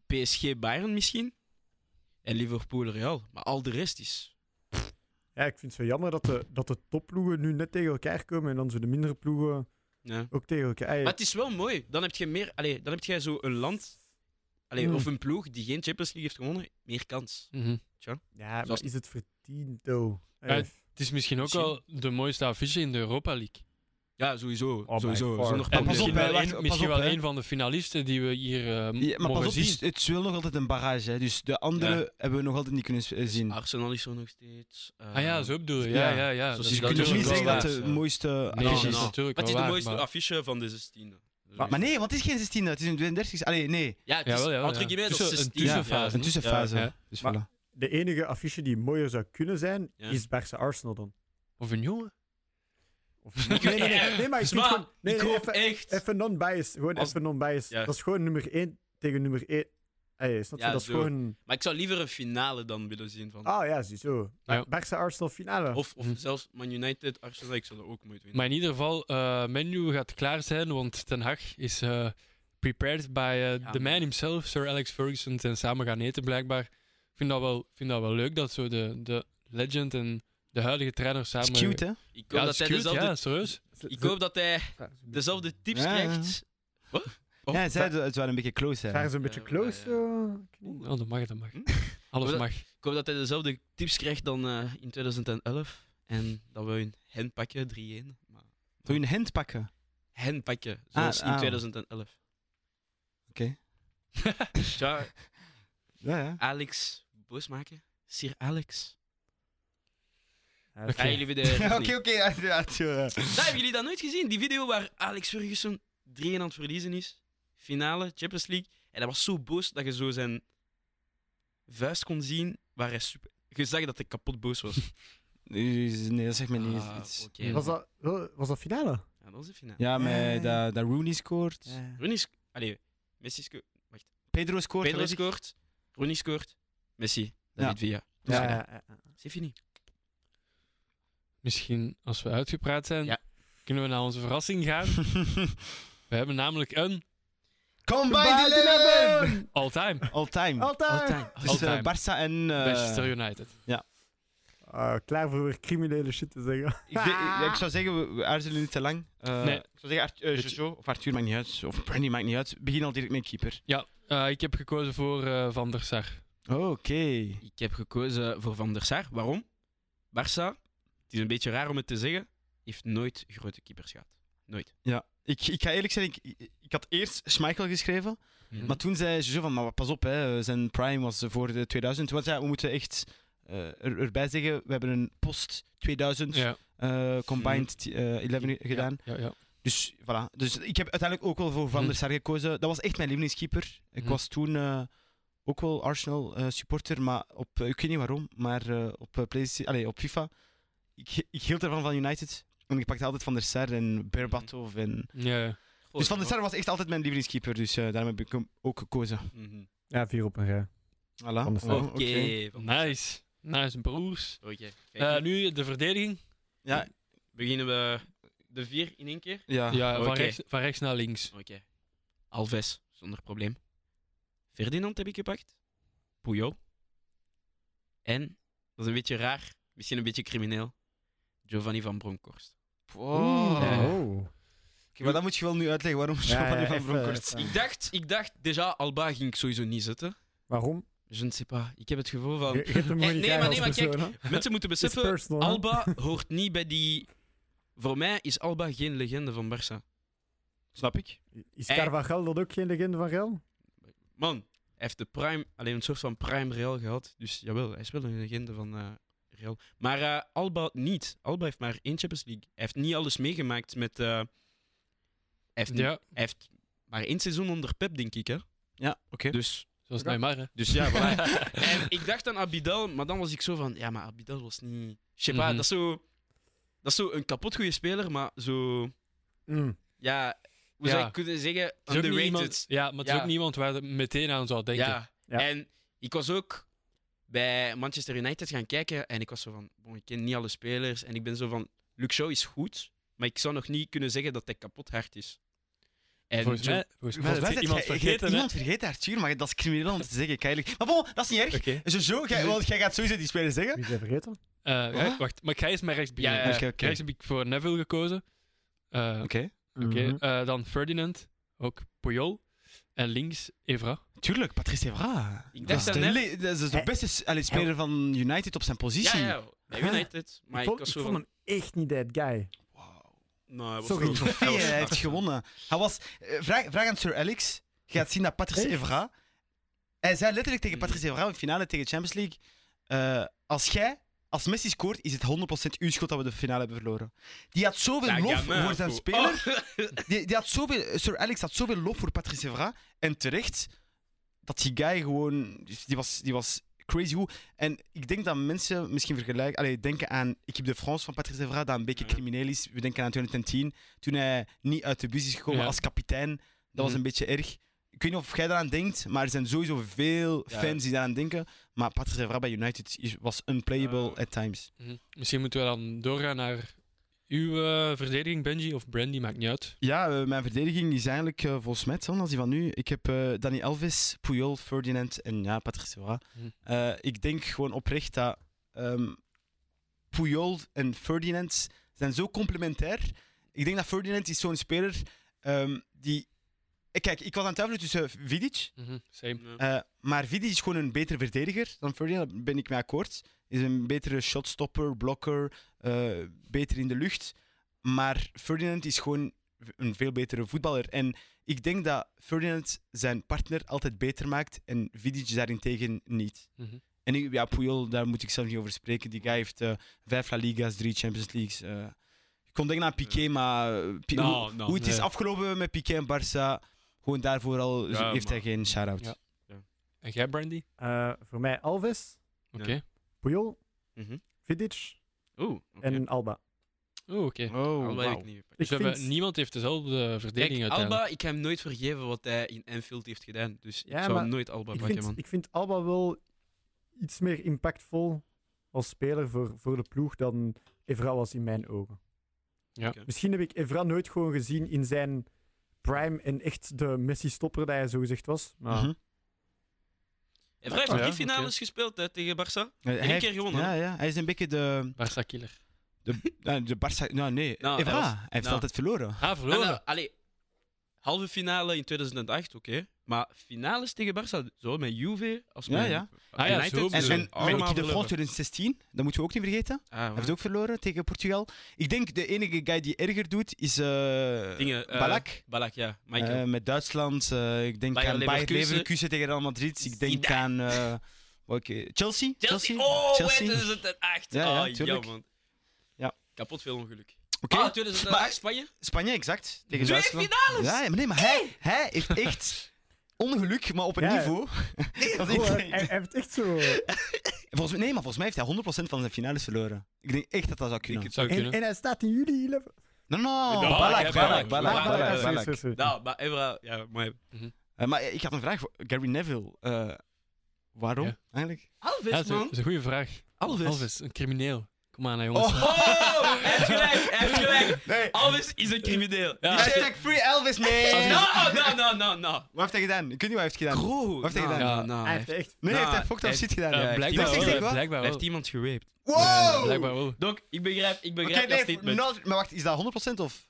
PSG Bayern misschien. En Liverpool Real. Maar al de rest is.
Ja, ik vind het zo jammer dat de, dat de topploegen nu net tegen elkaar komen en dan zo de mindere ploegen
Ja.
ook tegen elkaar. Ah, Ey,
Maar het is wel mooi. Dan heb je meer. Allee, dan heb jij zo een land Allee,
Mm.
Of een ploeg die geen Champions League heeft gewonnen, meer kans.
Mhm.
Ja, maar
Zoals-
is het verdiend, though?
Ja,
Eh,
Het is misschien ook wel de mooiste affiche in de Europa League.
Ja, sowieso.
by
sowieso.
far.
Zonder
En
pas
misschien
op, hè,
wel,
wacht,
een,
pas
misschien
op,
wel
hè.
een van de finalisten die we hier eh,
Ja, maar
mogen
pas op, het
zien.
is, het is wel nog altijd een barrage. Hè, dus de andere
Ja. Ah,
hebben we nog altijd niet kunnen s- eh, zien.
Arsenal is er nog steeds. eh,
Ah ja, zo bedoel je. Ja,
Ja.
ja, ja.
Zo
Dat
zie
is
Dus Je kunt
is
nog niet
natuurlijk
zeggen
wel
dat
waar.
de
waar.
mooiste
Nee,
affiche
dat
is.
is
nou.
natuurlijk
Maar
wel
het is de
waar,
mooiste
maar-
affiche van de 16e.
Maar-
Maar nee, want het is geen 16 het is een 32 Allee, nee.
ja, het is,
Jawel, jawel,
entre
ja.
guillemets, dat
Tussen-
is
een
16e.
tussenfase.
Een tussenfase.
Ja, ja.
Dus
Maar-
voilà.
de enige affiche die mooier zou kunnen zijn,
Ja.
is Barça Arsenal dan.
Of een jongen.
Of... Nee, nee, nee, nee, nee, maar je kunt
Zwaar,
gewoon... Nee,
ik
nee,
hoop
even-
echt.
Even non-biased. Gewoon
Als-
even non-biased.
Ja.
Dat is gewoon nummer 1 tegen nummer 1. Hey, snap je?
Ja,
dat is
zo.
gewoon...
Maar ik zou liever een finale dan willen zien. Van.
Ah ja, ziezo.
Ja.
Barça-Arsenal finale.
Of, of
Hm.
zelfs Man United, Arsenal, ik zou dat ook nooit winnen.
Maar in ieder geval, eh Menu gaat klaar zijn, want Ten Hag is eh, prepared by eh,
Ja,
the man
man.
himself, Sir Alex Ferguson, en samen gaan eten blijkbaar. Ik vind dat wel, vind dat wel leuk dat zo de, de legend en de huidige trainer
Dat
samen...
is cute, hè?
Ik hoop
Ja, dat
dat
is
hij
cute,
dezelfde,
ja, serieus.
ik hoop dat hij dezelfde tips
Ja, ja.
krijgt. Oh,
Ja, zij, het waren een beetje close, hè?
Zijn ze een beetje
Eh,
close?
maar,
zo? Ik weet niet.
Oh, dat mag, dat mag.
Hm?
Alles
Maar dat-
mag.
Ik hoop dat hij dezelfde tips krijgt dan eh, in 2011. En dat we een hen pakken, 3-1. Maar
Doe je een hand pakken?
hen pakken, zoals
ah.
in 2011. (laughs)
Oké.
ja,
Ja, ja.
Alex boos maken. Sir Alex.
Ja,
Ah, jullie weten
Ja,
het
(laughs) Oké,
niet.
oké, uiteraard. ja.
Nou, hebben jullie dat nooit gezien? Die video waar Alex Ferguson 3-1 aan het verliezen is. Finale, Champions League. En hij was zo boos dat je zo zijn vuist kon zien waar hij super... Je zag dat hij kapot boos
(laughs)
was.
Nee, dat zegt me niet.
Ah,
Het is-
oké.
Was dat, wel- was dat finale?
Ja, dat was de finale.
Ja, maar
Eh.
dat, dat Rooney scoort.
Rooney sc- Allee, Messi sco-
Pedro scoort.
Pedro
weet ik.
scoort. Rooney scoort. Messi.
Ja.
David Villa.
Dus
Ja,
ja. (laughs)
ja, ja, ja.
C'est fini.
Misschien als we uitgepraat zijn,
Ja.
kunnen we naar onze verrassing gaan. we hebben namelijk een
Combined Eleven!
all-time
All time.
Altijd!
Dus eh,
All-time.
Barça en... eh,
Manchester United.
Ah, klaar voor weer criminele shit te zeggen.
ik, denk- ja, ik zou zeggen, we, we aarzelen niet te lang. Eh,
Nee.
Ik zou zeggen, Art, eh, Jojo, of Arthur maakt niet uit, of Brandy maakt niet uit. Begin al direct met keeper.
Ja, eh, ik heb gekozen voor eh, Van der Sar.
Oké.
Ik heb gekozen voor Van der Sar. Waarom? Barça, het is een beetje raar om het te zeggen, heeft nooit grote keepers gehad. Nooit.
Ja. Ik, ik ga eerlijk zijn, ik, ik- ik had eerst Schmeichel geschreven,
Mhm.
maar toen zei Jojo van, maar pas op, hè, eh, zijn prime was voor de 2000. Want ja, we moeten echt eh, er- erbij zeggen, we hebben een post-2000
Ja, Hm.
eh, combined eh, 11 gedaan.
ja, ja.
Dus voilà. Dus ik heb uiteindelijk ook wel voor
Hm.
Van der Sar gekozen. Dat was echt mijn lievelingskeeper. Ik
Mhm.
was toen eh, ook wel Arsenal eh, supporter, maar op, eh, ik weet niet waarom, maar eh, op, eh, PlayStation, allee, op FIFA. Ik, ik hield ervan van United. En ik pakte altijd Van der Sar
Hm.
en Berbatov. En...
ja, ja.
Dus Van der Sar was echt altijd mijn lievelingskeeper. Dus eh, daarom heb ik hem ook gekozen.
Mhm.
Ja, vier op een rij.
Voilà.
Van der Sar.
Oh,
Oké. Van der Sar.
Nice. Nice, broers.
Oké, kijk.
Eh, nu de verdediging.
Ja,
Beginnen we de vier in één keer?
ja.
Ja, van,
oké.
rechts, van rechts naar links.
Oké. Alves, zonder probleem. Ferdinand heb ik gepakt. Puyol. En, dat is een beetje raar, misschien een beetje crimineel, Giovanni van Bronckhorst.
Wow.
Oeh.
Oké,
Oh.
maar dat moet je wel nu uitleggen (laughs) waarom Giovanni
ja,
van
even,
Bronckhorst.
even.
Ah. Ik dacht, ik dacht, déjà, Alba ging ik sowieso niet zetten. Dus
Waarom?
Je ne sais pas. Ik heb het gevoel
Je,
van...
je hebt hem
Eh,
gewoon niet
nee,
graag
maar
als
nee, maar kijk,
persoon, hè?
Mensen moeten
It's
beseffen,
personal, hè?
Alba hoort niet bij die... Voor mij is Alba geen legende van Barça.
Snap ik?
Is
Eh.
Carvajal dat ook geen legende van Real?
Man, hij heeft de prime, alleen een soort van prime Real gehad. Dus jawel, hij is wel een legende van eh, Real. Maar eh, Alba niet. Alba heeft maar één Champions League. Hij heeft niet alles meegemaakt met... eh, hij, heeft,
Ja,
hij heeft maar één seizoen onder Pep, denk ik. Hè?
Ja, oké.
Dus,
zoals
Ja.
Neymar, hè.
dus ja, voilà.
(laughs)
En ik dacht aan Abidal, maar dan was ik zo van... Ja, maar Abidal was niet... Je sais pas,
Mhm.
dat is zo... Dat is zo een kapot goede speler, maar zo...
Mm.
Ja, hoe
Ja.
zou ik kunnen zeggen?
Het is ook niet
Underrated.
iemand- ja, maar het is
Ja.
ook niemand waar je meteen aan zou denken.
Ja.
Ja.
En ik was ook bij Manchester United gaan kijken en ik was zo van, bon, ik ken niet alle spelers en ik ben zo van, Luke Shaw is goed, maar ik zou nog niet kunnen zeggen dat hij kapot hard is. En
volgens,
zo-
mij, volgens mij
Volgens mij
heeft
zet
Dus iemand
jij- jij
vergeten,
hebt
hè.
Iemand vergeten, Arthur, maar dat is crimineel om te zeggen. ik eigenlijk... Maar bon, dat is niet erg.
Oké.
Zo, zo, jij, want jij gaat sowieso die speler zeggen.
Wie zijn vergeten?
Eh,
Huh?
re- Wacht, maar ik ga eerst met rechts beginnen. Eh,
Ja, ja.
Oké, oké.
Rechts heb ik voor Neville gekozen. Eh,
Oké.
Oké,
Mhm.
eh, dan Ferdinand, ook Puyol. En links Evra.
Tuurlijk, Patrice Evra.
Ik
Dat is
dacht
de,
daarnet-
le- dat is de
Hij-
beste s- allee, speler van United op zijn
Ja,
positie.
ja, bij United. Maar
ik
ik
vond,
was
ik
zo
vond
van...
hem echt niet that guy.
Nou, hij was
Sorry.
goed. (laughs)
Hey,
was-
hij heeft gewonnen. Hij was, eh, vraag, vraag aan Sir Alex. Je gaat zien dat Patrice
Echt?
Evra... Hij zei letterlijk tegen Patrice Evra in de finale tegen de Champions League... eh, als jij, als Messi scoort, is het 100% uw schuld dat we de finale hebben verloren. Die had zoveel
La
lof
gamin,
voor zijn
goed.
speler.
Oh.
Die, die had zoveel, Sir Alex had zoveel lof voor Patrice Evra. En terecht, dat die guy gewoon... dus Die was, die was crazy goed. En ik denk dat mensen misschien vergelijken... Allee, denken aan Equipe de France van Patrice Evra, dat een beetje
Ja.
crimineel is. We denken aan 2010, toen hij niet uit de bus is gekomen
Ja.
als kapitein. Dat was
Mhm.
een beetje erg. Ik weet niet of jij daaraan denkt, maar er zijn sowieso veel
Ja.
fans die daaraan denken. Maar Patrice Evra bij United is- was unplayable
Eh.
at times.
Mhm. Misschien moeten we dan doorgaan naar uw eh, verdediging, Benji, of Brandy, maakt niet uit.
Ja, eh, mijn verdediging is eigenlijk eh, volgens mij hetzelfde als die van nu. Ik heb eh, Dani Elvis, Puyol, Ferdinand en ja, Patrick Evra.
Hm.
Eh, ik denk gewoon oprecht dat ehm, Puyol en Ferdinand zijn zo complementair. Ik denk dat Ferdinand is zo'n speler ehm, die... Eh, Kijk, ik was aan het twijfelen tussen Vidic,
Mhm, Same.
eh, maar Vidic is gewoon een betere verdediger dan Ferdinand, daar ben ik mee akkoord. Is een betere shotstopper, blokker, eh, beter in de lucht. Maar Ferdinand is gewoon v- een veel betere voetballer. En ik denk dat Ferdinand zijn partner altijd beter maakt en Vidic daarentegen niet.
Mhm.
En ik- ja, Puyol, daar moet ik zelf niet over spreken. Die guy heeft eh, vijf La Liga's, drie Champions Leagues. eh. ik kon denken aan Piqué, maar eh, Pi-
Nou,
hoe,
nou,
hoe het is
nee.
afgelopen met Piqué en Barça, gewoon daarvoor al
Ja,
heeft hij
maar-
geen shout-out.
Ja. En jij, Brandy?
Eh, voor mij Alves,
Oké.
Puyol,
Mhm.
Vidic
Oeh, oké.
en Alba.
Oh, oké.
Oh,
Alba heb ik niet.
Ik
Dus we hebben-
vind-
niemand heeft dezelfde
Kijk,
verdediging uiteindelijk.
Alba, ik heb hem nooit vergeven wat hij in Anfield heeft gedaan. Dus
Ja,
ik zou
maar
nooit Alba
ik,
pakken,
vind,
man.
ik vind Alba wel iets meer impactvol als speler voor, voor de ploeg dan Evra was in mijn ogen.
Ja.
Oké.
Misschien heb ik Evra nooit gewoon gezien in zijn prime en echt de Messi-stopper die hij zogezegd was. Maar
Mhm.
En Vrij heeft
Ja,
drie
oké.
finales gespeeld hè, tegen Barça.
Hij
Eén
heeft-
keer gewonnen,
Ja, ja, hij is een beetje de,
Barca killer.
de, nou, de Barça. Nou, nee.
Nou,
Evra,
hij was-
hij heeft
nou.
altijd verloren.
Ah,
Ah,
verloren.
nou, allee, halve finale in 2008, oké. Maar finales tegen Barça, zo met Juve als
Ja,
met
ja.
Ah ja,
United,
zo
En,
Dus
en
allemaal
met Equipe de
verloren.
France 2016, dat moeten we ook niet vergeten. Hij
Ah,
heeft ook verloren tegen Portugal. Ik denk de enige guy die erger doet is eh
Dingen, eh,
Balak.
Balak, ja.
Eh,
Michael.
met Duitsland. eh, ik denk
Bayer
aan Bayer
Leverkusen.
Leverkusen tegen Real Madrid. Ik denk
Zidane.
aan eh, welke- Chelsea.
Chelsea. Oh,
Chelsea.
wait, 2008.
Ja, ja,
oh,
tuurlijk.
man.
Ja.
Kapot veel ongeluk.
Oké.
Ah, 2008
Maar-
Spanje.
Spanje, exact. Tegen
Twee
Duitsland. Ja, ja, maar nee, maar hij, hij heeft echt ongeluk, maar op een
Ja, ja.
niveau. (laughs) dat is
Goh,
echt-
Oh, hij, hij heeft echt zo.
Volgens mij, nee, maar volgens mij heeft hij 100% van zijn finales verloren. Ik denk echt dat dat zou kunnen.
Het zou
En,
kunnen.
en hij staat in juli. Lev-
No,
Balak,
no. Balak, Balak,
ja,
Balak,
Balak,
Balak,
Balak,
Balak,
Balak,
sorry,
Balak.
sorry, sorry.
Nou, maar Evra, ja, maar...
Eh, Maar ik had een vraag voor Gary Neville. Eh, waarom
Ja.
eigenlijk?
Alves,
Ja, dat is een- dat
man.
is een goede vraag.
Alves.
Alves, een crimineel. Kom aan, hè, jongens.
Oh, hij heeft gelijk, hij heeft gelijk.
Nee.
Alves is een crimineel.
Ja.
Die Ah, nou, shit-
Hashtag Free Elvis, nee! Wat
No, no, no, no, no.
heeft hij gedaan? Ik weet niet wat hij heeft gedaan.
Bro.
Wat heeft hij
no,
gedaan?
no, no.
Hij heeft echt.
Nee,
Nou,
heeft hij fucked up
hij-
shit gedaan.
Eh,
ja.
blijkbaar
Ik zeg,
wel.
zeg,
hè,
wat?
Blijkbaar
Hij
wel.
heeft iemand geraped.
Ja,
Wow!
Blijkbaar wel.
Doc, ik begrijp, ik
Oké,
begrijp dat
nee,
statement.
not- maar wacht, is dat 100% of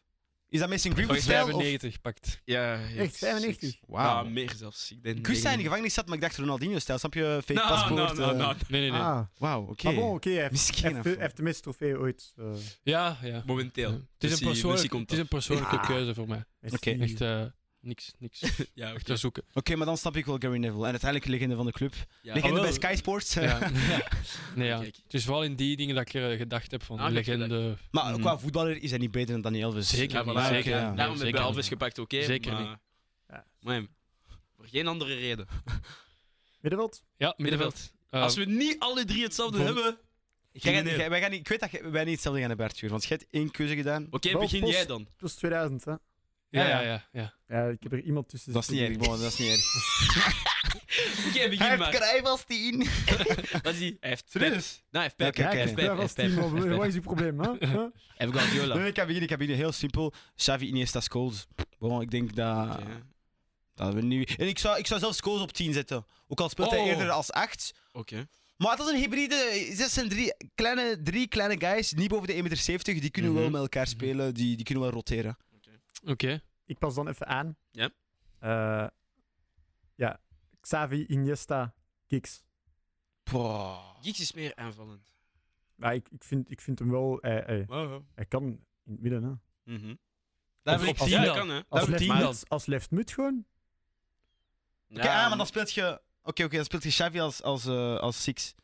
is dat Mason Greenwood stijl? of-
95 pakt.
Ja, ja,
Echt 95.
zoiets.
Wauw.
Nou, meer zelfs. Ik denk
Ehm, Ik wist dat hij in de gevangenis zat, maar ik dacht Ronaldinho stijl. Snap je? Fake
No, no,
Nou,
paspoort.
no,
eh.
no.
Nee, nee, nee.
Ah,
Wauw, oké.
maar bon, oké, hij heeft- hij
Misschien
heeft,
of-
hij heeft de meeste trofee ooit. eh,
Ja, ja.
Momenteel.
Ja. Het is,
Messi-
een
Messi
persoonlijk,
komt
het is een persoonlijke
Ah.
keuze voor mij.
heeft
Oké,
die-
Echt eh, niks, niks
(laughs) Ja, oké.
te zoeken.
Oké, maar dan snap ik wel Gary Neville. En uiteindelijk legende van de club.
Ja.
legende
Ah, wel.
bij Sky Sports. eh.
Ja.
(laughs)
Nee, ja.
Kijk.
Het is vooral in die dingen dat ik eh, gedacht heb van
Ah, dat je
legende.
maar
Mhm.
qua voetballer is hij niet beter dan Dani Elvis.
Zeker
Ja, Nou,
niet,
maar daarom-
zeker
ja.
niet.
Daarom hebben
zeker
we Alves
niet.
gepakt, oké.
Zeker
maar...
niet.
Ja.
Maar voor geen andere reden.
Middenveld?
Ja, middenveld. Eh,
Als we niet alle drie hetzelfde
voor-
hebben...
Jij gaat-
crimineel.
jij- wij gaan niet, ik weet dat jij- wij niet hetzelfde gaan hebben, Arthur. Want jij hebt één keuze gedaan.
Oké,
Wel
begin
post-
jij dan.
Dat is 2000, hè?
ja, ja,
ja.
ja, ja.
Ja, ik heb er iemand tussen
Dat is niet
zitten
erg,
die-
bon, dat is niet erg.
Oké, begin maar.
Cruijff als tien.
Wat is die? Hij heeft Pep. Nou,
Serieus?
hij heeft Pep.
Oké,
Ja,
oké.
ik
Hij heeft Pep. Hij
heb Cruijff als
heeft Pep. Hij
team.
heeft
maar Wat
Pep.
is uw probleem, hè? Huh?
Hij heeft Guardiola.
Nee, ik heb beginnen, ik heb beginnen. Heel simpel. Xavi, Iniesta, Scholes. Bon, ik denk dat...
Oké, hè.
dat we nu... En ik zou, ik zou zelfs Scholes op 10 zetten. Ook al speelt hij
Oh.
eerder als 8.
Oké.
Maar dat is een hybride. eh, Zes zijn drie kleine, drie kleine guys, niet boven de 1,70 meter. Die kunnen wel
Mhm.
met elkaar spelen, die, die kunnen wel roteren.
Oké.
Ik pas dan even aan.
Ja.
Eh, ja, Xavi, Iniesta, Kiks.
Boah.
Giggs is meer aanvallend.
Ja, ik, ik, vind, ik vind hem wel... eh, eh,
Wow.
hij kan in het midden, hè.
Daar
Of
wil ik
op tien
zien
Mhm.
dan.
Ja, dat kan, hè.
Als
Daarom
left,
tien dan.
mid, als left mid gewoon.
Oké, ah, maar dan speelt je. Oké, oké, dan speelt je Xavi als, als, eh, als six.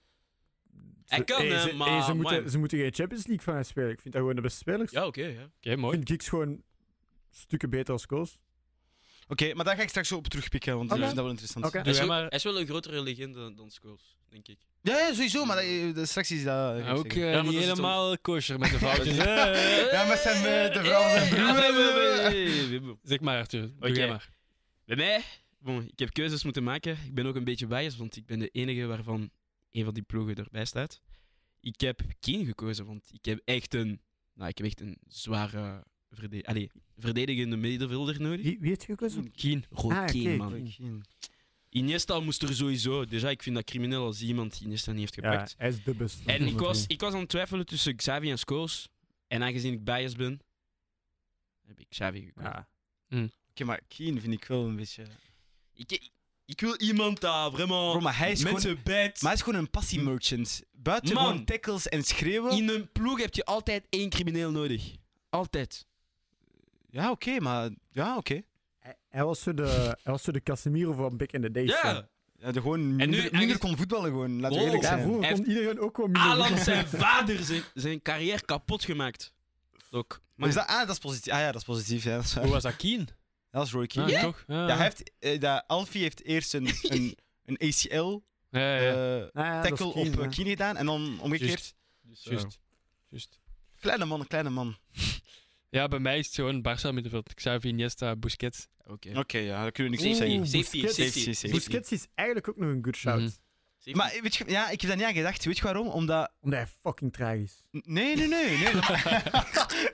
Hij kan,
Hey,
hè,
ze,
maar...
hey, ze,
man.
moeten, ze moeten geen Champions League van hem spelen. Ik vind dat gewoon de beste spelers.
Ja, oké, ja.
Ik
mooi.
vind Giggs gewoon stukken beter als Koos.
Oké, maar daar ga ik straks zo op terugpikken, want
Oké.
ik vind dat wel interessant.
Oké.
Doe
Hij is,
jij
wel,
maar-
hij is wel een grotere legende dan Scholes, denk ik.
Ja, ja, sowieso, maar dat, dat- straks is dat. ga ik
Ook
zeggen.
eh,
Ja,
niet
maar dat is het
helemaal kosher
(laughs)
met de foutjes. hè.
Ja, maar zijn eh, de vrouw en
Hey,
broer.
hey, hey,
eh,
hey, hey, hey, (laughs) hey.
Zeg maar, Arthur. Doe
Oké.
jij maar.
Bij mij, bon, ik heb keuzes moeten maken. Ik ben ook een beetje biased, want ik ben de enige waarvan een van die ploegen erbij staat. Ik heb Kane gekozen, want ik heb echt een, nou, ik heb echt een zware verde Allee, verdedigende middenvelder nodig.
Wie, wie heeft gekozen?
Keen. Gewoon
Ah,
Kane,
oké,
man.
oké.
Iniesta moest er sowieso. Dus ja, ik vind dat crimineel als iemand Iniesta niet heeft
Ja,
gepakt.
hij is de beste.
En ik was, ik was aan het twijfelen tussen Xavi en Scholes. En aangezien ik biased ben, heb ik Xavi gekozen.
Ja.
Oké, maar Keen vind ik wel een beetje.
Ik, ik wil iemand daar
Bro,
vraiment
maar hij is
met
gewoon.
zijn bed.
Maar hij is gewoon een passie merchant. Buiten
Man.
gewoon tackles en schreeuwen.
In een ploeg heb je altijd één crimineel nodig. Altijd.
Ja, oké, maar. Ja, oké.
Hij, hij was zo de, hij was zo de Casemiro van Back in the Days. hè.
Ja,
Ja, de- gewoon minder,
nu-
minder
eigenlijk-
kon voetballen, gewoon. Laten we
Oh.
eerlijk
ja
zijn.
vroeger
Hij
kon iedereen ook wel minder
Alan
voetballen.
zijn vader zijn, zijn carrière kapot gemaakt. Ook.
Maar is dat, ah, dat is positief. Ah ja, dat is positief. Ja, dat, is, waar.
Hoe was dat Keen?
dat is Roy Keane.
Ah,
Ja,
toch? Ah.
hij heeft, eh, dat, Alfie heeft eerst een, een, een ACL
Ja, ja, ja.
eh,
Ah, ja, dat is
tackle
Keane,
op
hè.
eh, Keane gedaan en dan omgekeerd.
Juist. Juist. Juist.
Kleine man, kleine man.
Ja, bij mij is het gewoon Barça middenveld. Xavi, Iniesta, Busquets.
Oké.
Oké, ja, daar kunnen we
Safety,
niks op zeggen.
safety,
Busquets.
safety,
Safety,
safety.
Busquets is eigenlijk ook nog een good shout.
Mhm.
Safety.
Maar weet je, ja, ik heb daar niet aan gedacht. Weet je waarom? Omdat.
Omdat hij fucking traag is.
Nee, nee, nee. nee (laughs) dat-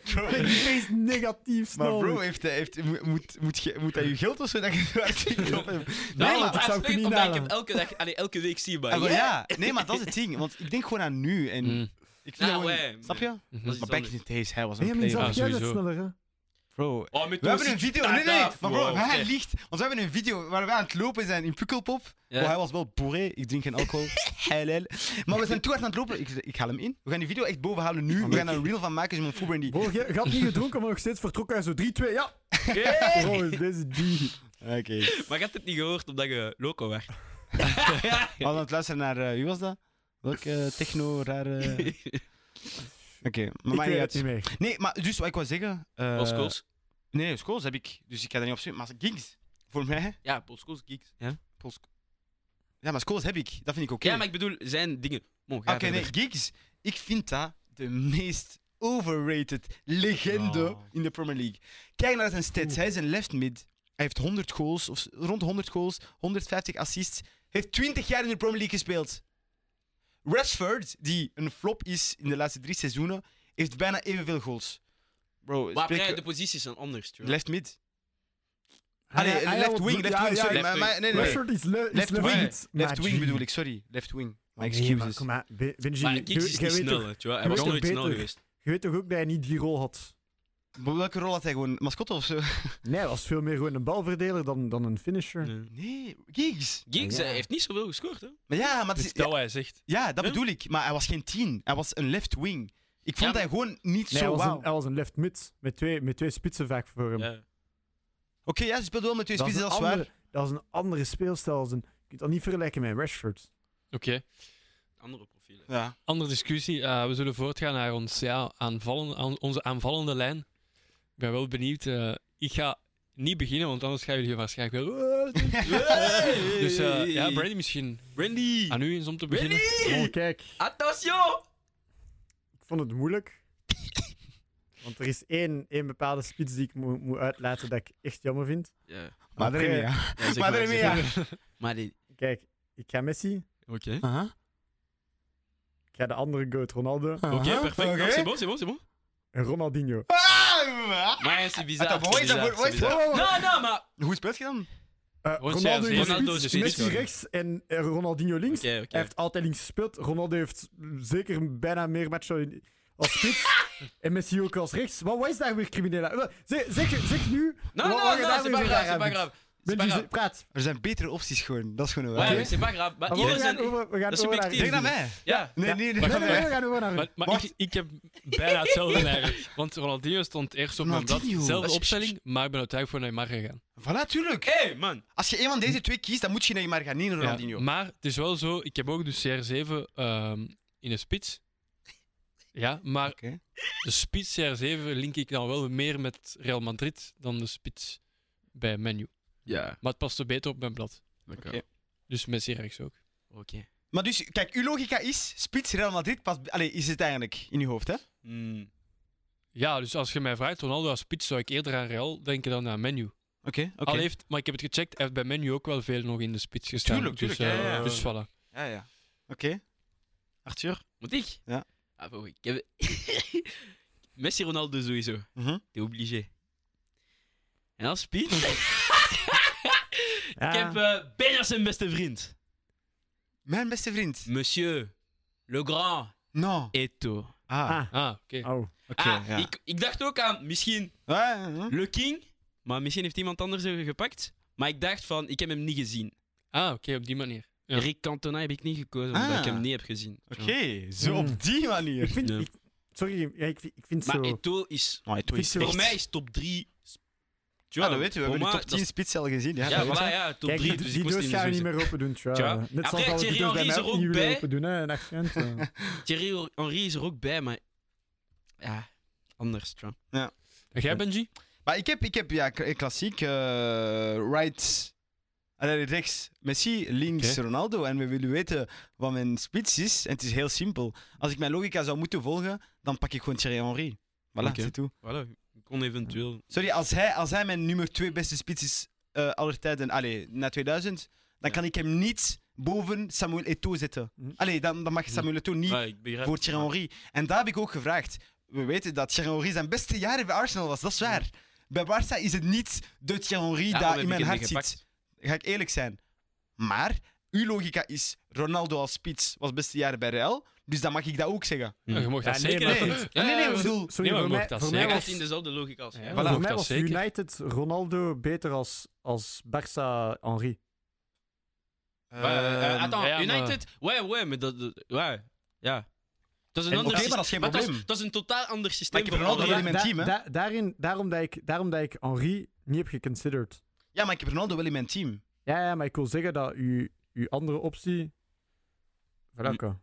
bro,
Hij is negatief
maar
snel.
bro, heeft, hij- heeft, moet, moet, moet, je- moet dat je geld of zo? Dat je (laughs) het hartstikke op hebt?
Nou,
nee,
want
dat zou ik
eigenlijk,
niet
omdat ik
halen.
hem elke, dag, allee, elke week zie, maar
Ah, maar
ja,
ja, nee, maar dat is het ding. Want ik denk gewoon aan nu. En
Mm.
ik vind
Nou,
dat gewoon-
hè,
Snap je?
Mhm.
dat is
Maar
iets
back
anders.
in the days, hij was
Nee,
een
maar
player.
zelf-
zelfs jij bent
sowieso.
sneller, hè.
Bro,
Oh, met
We hebben een video. Nee, nee, nee. Maar bro,
Wow,
maar hij
oké.
liegt. Want we hebben een video waar we aan het lopen zijn in Pukkelpop.
Ja.
Oh, hij was wel boeré. Ik drink geen alcohol. Halal. Maar we zijn toe hard aan het lopen. Ik, ik haal hem in. We gaan die video echt boven halen nu. We gaan er een reel van maken. Dus mijn voetbal in die.
Bro, je je had niet gedronken, maar nog steeds vertrok hij zo 3-2. Ja!
(laughs)
Hey!
Bro, deze G.
Oké.
Maar je had het niet gehoord omdat je loco werd.
We hadden aan het luisteren naar. eh, wie was dat? Welke eh, techno rare. Oké, maar
Ik
maakt
weet
niet
het
uit.
niet meer.
Nee, maar dus wat ik wou zeggen. eh,
Paul Scholes?
Nee, schools heb ik. Dus ik ga daar niet op zitten. Maar Giggs, voor mij.
Ja, Paul Scholes, geeks. Ja?
Paul Sc- Ja, maar schools heb ik. Dat vind ik oké.
ja, maar ik bedoel, zijn dingen... Bon, ga
Oké, nee,
verder.
Giggs. Ik vind dat de meest overrated legende
Oh.
in de Premier League. Kijk naar zijn stats. Hij is een left mid. Hij heeft 100 goals, of rond 100 goals, 150 assists. Heeft 20 jaar in de Premier League gespeeld. Rashford, die een flop is in de laatste drie seizoenen, heeft bijna evenveel goals. Bro,
Maar
spreek-
après, de posities zijn anders, joh.
left mid. Ah, nee,
Hij- hij
left
had-
wing, left
ja,
wing,
ja,
sorry.
ja.
maar- maar- nee, nee, nee.
Rashford is le- is
Left
left
wing.
mid, maar
Left wing
G.
bedoel ik, sorry. Left wing. My
Nee, maar
excuses.
kom maar, Be- Benji,
Maar
doe-
Giggs is
jij
niet
weet
snel,
toch-
hè, tjoh. Hij
jij
was
weet
nooit
toch
snel
beter?
geweest.
Je weet toch ook dat hij niet die rol had?
Maar Welke rol had hij gewoon? Mascotte of zo?
Nee, hij was veel meer gewoon een balverdeler dan, dan een finisher.
Nee.
Nee, Giggs.
Giggs
Ja.
eh, heeft niet zoveel gescoord, hè?
Maar ja, maar het
Dus
(laughs)
is-
dat
ja,
wat hij zegt.
ja, dat
Ja.
bedoel ik. Maar hij was geen tien. Hij was een left wing. Ik
Ja,
vond hij gewoon niet
Nee, hij,
zo
was
wauw.
een, hij was een left mid met twee, met twee spitsen vaak voor hem.
Ja.
Oké, ja, ze speelde wel met twee
is
spitsen,
een
dat is
andere,
waar.
dat is een andere speelstijl. als een- je kunt dat niet vergelijken met Rashford.
Oké.
Andere
(laughs)
profielen.
Ja.
Andere discussie. Eh, we zullen voortgaan naar ons, ja, aanvallen, aan onze aanvallende lijn. Ik ben wel benieuwd. eh, ik ga niet beginnen, want anders gaan jullie waarschijnlijk wel... Dus eh, ja, Brandy misschien
Brandy!
Ah,
aan u eens om te beginnen.
Oh,
Brandy!
kijk,
Attention!
ik vond het
(laughs)
moeilijk. Want er is één, één bepaalde spits die ik moet moet uitlaten dat ik echt jammer vind.
Ja.
Maar
Oké.
daarmee, ja.
Ja, zeg
Maar daarmee,
zeg
ja.
Maar die...
Kijk, ik ga Messi,
Oké.
Aha.
ik ga de andere goat Ronaldo
Oké,
Aha.
perfect.
Oké.
Okay. C'est bon, c'est bon, c'est bon.
en Ronaldinho.
Ah,
Maar c'est bizar.
Attends, pourquoi
c'est
ils ont-
bizar,
pourquoi
c'est
ils ont-
bizar. Non, non, maar...
Hoe speelt je dan?
Eh,
Wordt
Ronaldo
zelfs-
in de
Ronaldo
spits,
is de spits,
Messi
ja.
rechts en eh, Ronaldinho links.
Oké,
Hij
oké.
heeft altijd links gespeeld. Ronaldo heeft zeker bijna meer matchen in- als
(laughs)
spits. en Messi ook als rechts. Maar wat is daar weer crimineel aan? Zeg, zeg, zeg nu.
Non, non,
wat-
non,
wat je daar
c'est
weer
pas
zo
grave,
raar
c'est
aan
pas
vindt.
grave.
Benji,
Sparra.
ze- praat.
Er zijn betere opties gewoon. Dat is gewoon een
Maar
waarheid.
c'est pas grave. Maar
We
ieder
gaan,
zijn...
over, we gaan
dat is
over naar-
subjectief.
Denk naar mij.
Ja.
Nee, nee, nee.
Nee, nee, nee, we gaan over naar
Maar, maar
Wacht.
ik, ik heb bijna hetzelfde eigenlijk. Want Ronaldinho stond eerst op mijn blad.
Ronaldinho.
Zelfde
Dat is-
opstelling, maar ik ben uiteindelijk voor Neymar gegaan.
Voilà, tuurlijk.
Hé,
Hey, man.
Als je een van deze twee kiest, dan moet je naar maar gaan, niet naar
Ja,
Ronaldinho.
maar het is wel zo, ik heb ook dus CR7 ehm, in een spits. Ja, maar
Oké.
de spits CR7 link ik dan wel meer met Real Madrid dan de spits bij Menu.
Ja.
Maar het past er beter op mijn blad.
Oké.
Oké.
Dus Messi rechts ook.
Oké.
Maar dus, kijk, uw logica is, spits Real Madrid, past, allee, is het eigenlijk in uw hoofd, hè?
Mm.
Ja, dus als je mij vraagt, Ronaldo als spits zou ik eerder aan Real denken dan aan Menu.
Oké, oké.
Al heeft, maar ik heb het gecheckt, hij heeft bij Menu ook wel veel nog in de spits gestaan.
Tuurlijk,
dus,
tuurlijk,
eh,
ja, ja, ja.
dus voilà.
Ja, ja. Oké. Arthur?
Moet ik?
Ja.
Ah, voor, ik heb... (laughs) Messi Ronaldo sowieso.
Mhm.
T'es obligé. En als (laughs) spits... Ik heb
Ja.
eh, bijna zijn beste vriend.
Mijn beste vriend.
Monsieur Le Grand
No.
Eto.
Ah,
Ah.
Ah, oké.
Oh.
oké.
ah,
ja.
ik, ik dacht ook aan misschien
Ja, ja, ja.
Le King, maar misschien heeft iemand anders hem gepakt. Maar ik dacht van, ik heb hem niet gezien.
Ah, oké, op die manier. Ja.
Rick Cantona heb ik niet gekozen, omdat
Ah.
ik hem niet heb gezien.
Oké,
Mm.
zo op die
Ik
manier.
vind,
Ja.
ik, sorry, ja, ik, vind- ik vind
Maar
zo...
Eto is,
Maar
is echt-
voor mij is top 3.
Ja, dat weten we. We hebben de top 10 spits al gezien. Ja,
Ja,
dat weten
voilà, ja, top
Kijk,
3.
die,
Dus
die
ik moest
doos
die
gaan we niet
sowieso-
meer open doen, tja.
Tja.
Net
Après,
zoals dat we
Thierry
die doos bij
Henry
mij
is er
ook
ook
niet willen
bij.
open doen, hè. Een accent, ja.
Thierry Henry is er ook bij, maar... Ja, anders, Trump.
En jij, Benji?
we. Maar ik heb, ik heb ja, k- klassiek eh, right... Allee, rechts Messi, links
Oké.
Ronaldo. En we willen weten wat mijn spits is. En het is heel simpel. Als ik mijn logica zou moeten volgen, dan pak ik gewoon Thierry Henry. Voilà,
Oké.
c'est tout.
Voilà, ik kon eventueel...
Sorry, als hij, als hij mijn nummer 2 beste spits is eh aller tijden, allee, na 2000, dan
Ja.
kan ik hem niet boven Samuel Eto'o zetten.
Mhm.
Allee, dan, dan mag je Samuel Eto'o niet
Ja, ik begrijp
voor
het,
Thierry
maar-
Henry. En daar heb ik ook gevraagd. We weten dat Thierry Henry zijn beste jaren bij Arsenal was, dat is waar. Bij Barça is het niet de Thierry Henry
Ja,
dat
dan heb
in
ik
mijn
hem
hart
niet
zit.
gepakt.
Ga ik eerlijk zijn. Maar uw logica is Ronaldo als spits was beste jaren bij Real, dus dan mag ik dat ook zeggen.
Nou, Je mocht
Ja,
dat
nee,
zeker Eh,
maar-
hebben.
Hm. Nee, nee, nee, ik bedoel,
Nee,
Sorry,
maar
voor
we
mij,
mogen dat
voor
zeggen.
mij
Hij
was-
gaat in dezelfde logica als
Ja,
hij.
voilà.
Voor mij
dat
was
zeker.
United Ronaldo beter als, als Barça Henry.
Ehm,
Eh, eh, attends,
ja, maar-
United? Ouais, ouais, maar dat... dat- ouais, ja. Dat is een
En
ander
oké,
systeem.
maar dat is geen
Maar
probleem.
is- dat is een totaal ander systeem.
Maar ik heb
voor
Ronaldo
Henry.
in mijn team, hè.
daarin, daarom, dat ik, daarom dat ik Henry niet heb geconsiderd.
Ja, maar ik heb Ronaldo wel in mijn
(laughs)
team.
Ja, ja, maar ik wil zeggen dat uw, uw andere optie... Voilà,
Hm.
oké.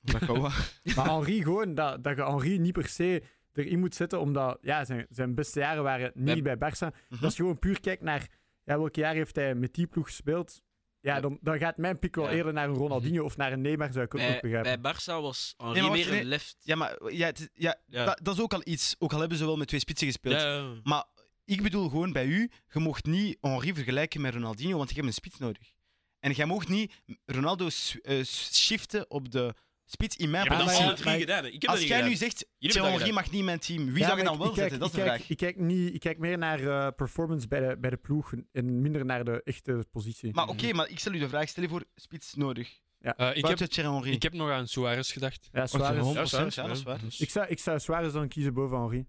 Dat kan wel.
Maar Henri gewoon, dat, dat je Henri niet per se erin moet zetten, omdat ja, zijn, zijn beste jaren waren niet bij Barça.
Mhm.
Als je gewoon puur kijkt naar ja, welke jaar heeft hij met die ploeg gespeeld, ja,
Ja.
dan, dan gaat mijn pick wel
Ja.
eerder
Mhm.
naar een Ronaldinho of naar een Neymar, zou ik ook nog
Bij,
begrijpen.
bij Barça was Henri
Nee, maar
meer
wacht,
een left.
Ja, maar eh, ja, het is- ja,
Ja.
Dat, dat is ook al iets. Ook al hebben ze wel met twee spitsen gespeeld.
Ja,
Maar ik bedoel gewoon bij u, je mocht niet Henri vergelijken met Ronaldinho, want je hebt een spits nodig. En jij mocht niet Ronaldo s- eh, s- shiften op de spits in mijn
Je hebt
maar
dat
ja,
positie.
alle drie
maar-
gedaan. hè. Ik heb dat
Als
niet
jij nu
gedaan.
zegt,
Jullie hebben
Thierry
dat
Henri mag niet in mijn team, wie zou je
maar
dan
ik-
wel
ik kijk-
zetten? Dat is
ik
de
kijk-
vraag.
Ik kijk, niet, ik kijk meer naar eh, performance bij de, bij de ploeg en minder naar de echte positie.
Maar oké, maar ik stel u de vraag, stel je voor spits nodig.
Eh, ik, heb,
Buiten Thierry Henri.
ik heb nog aan Suarez gedacht.
ja, Suarez.
Ja,
Ja, Suarez,
ja, dat is waar.
Ik zou, ik zou Suarez dan kiezen boven Henri.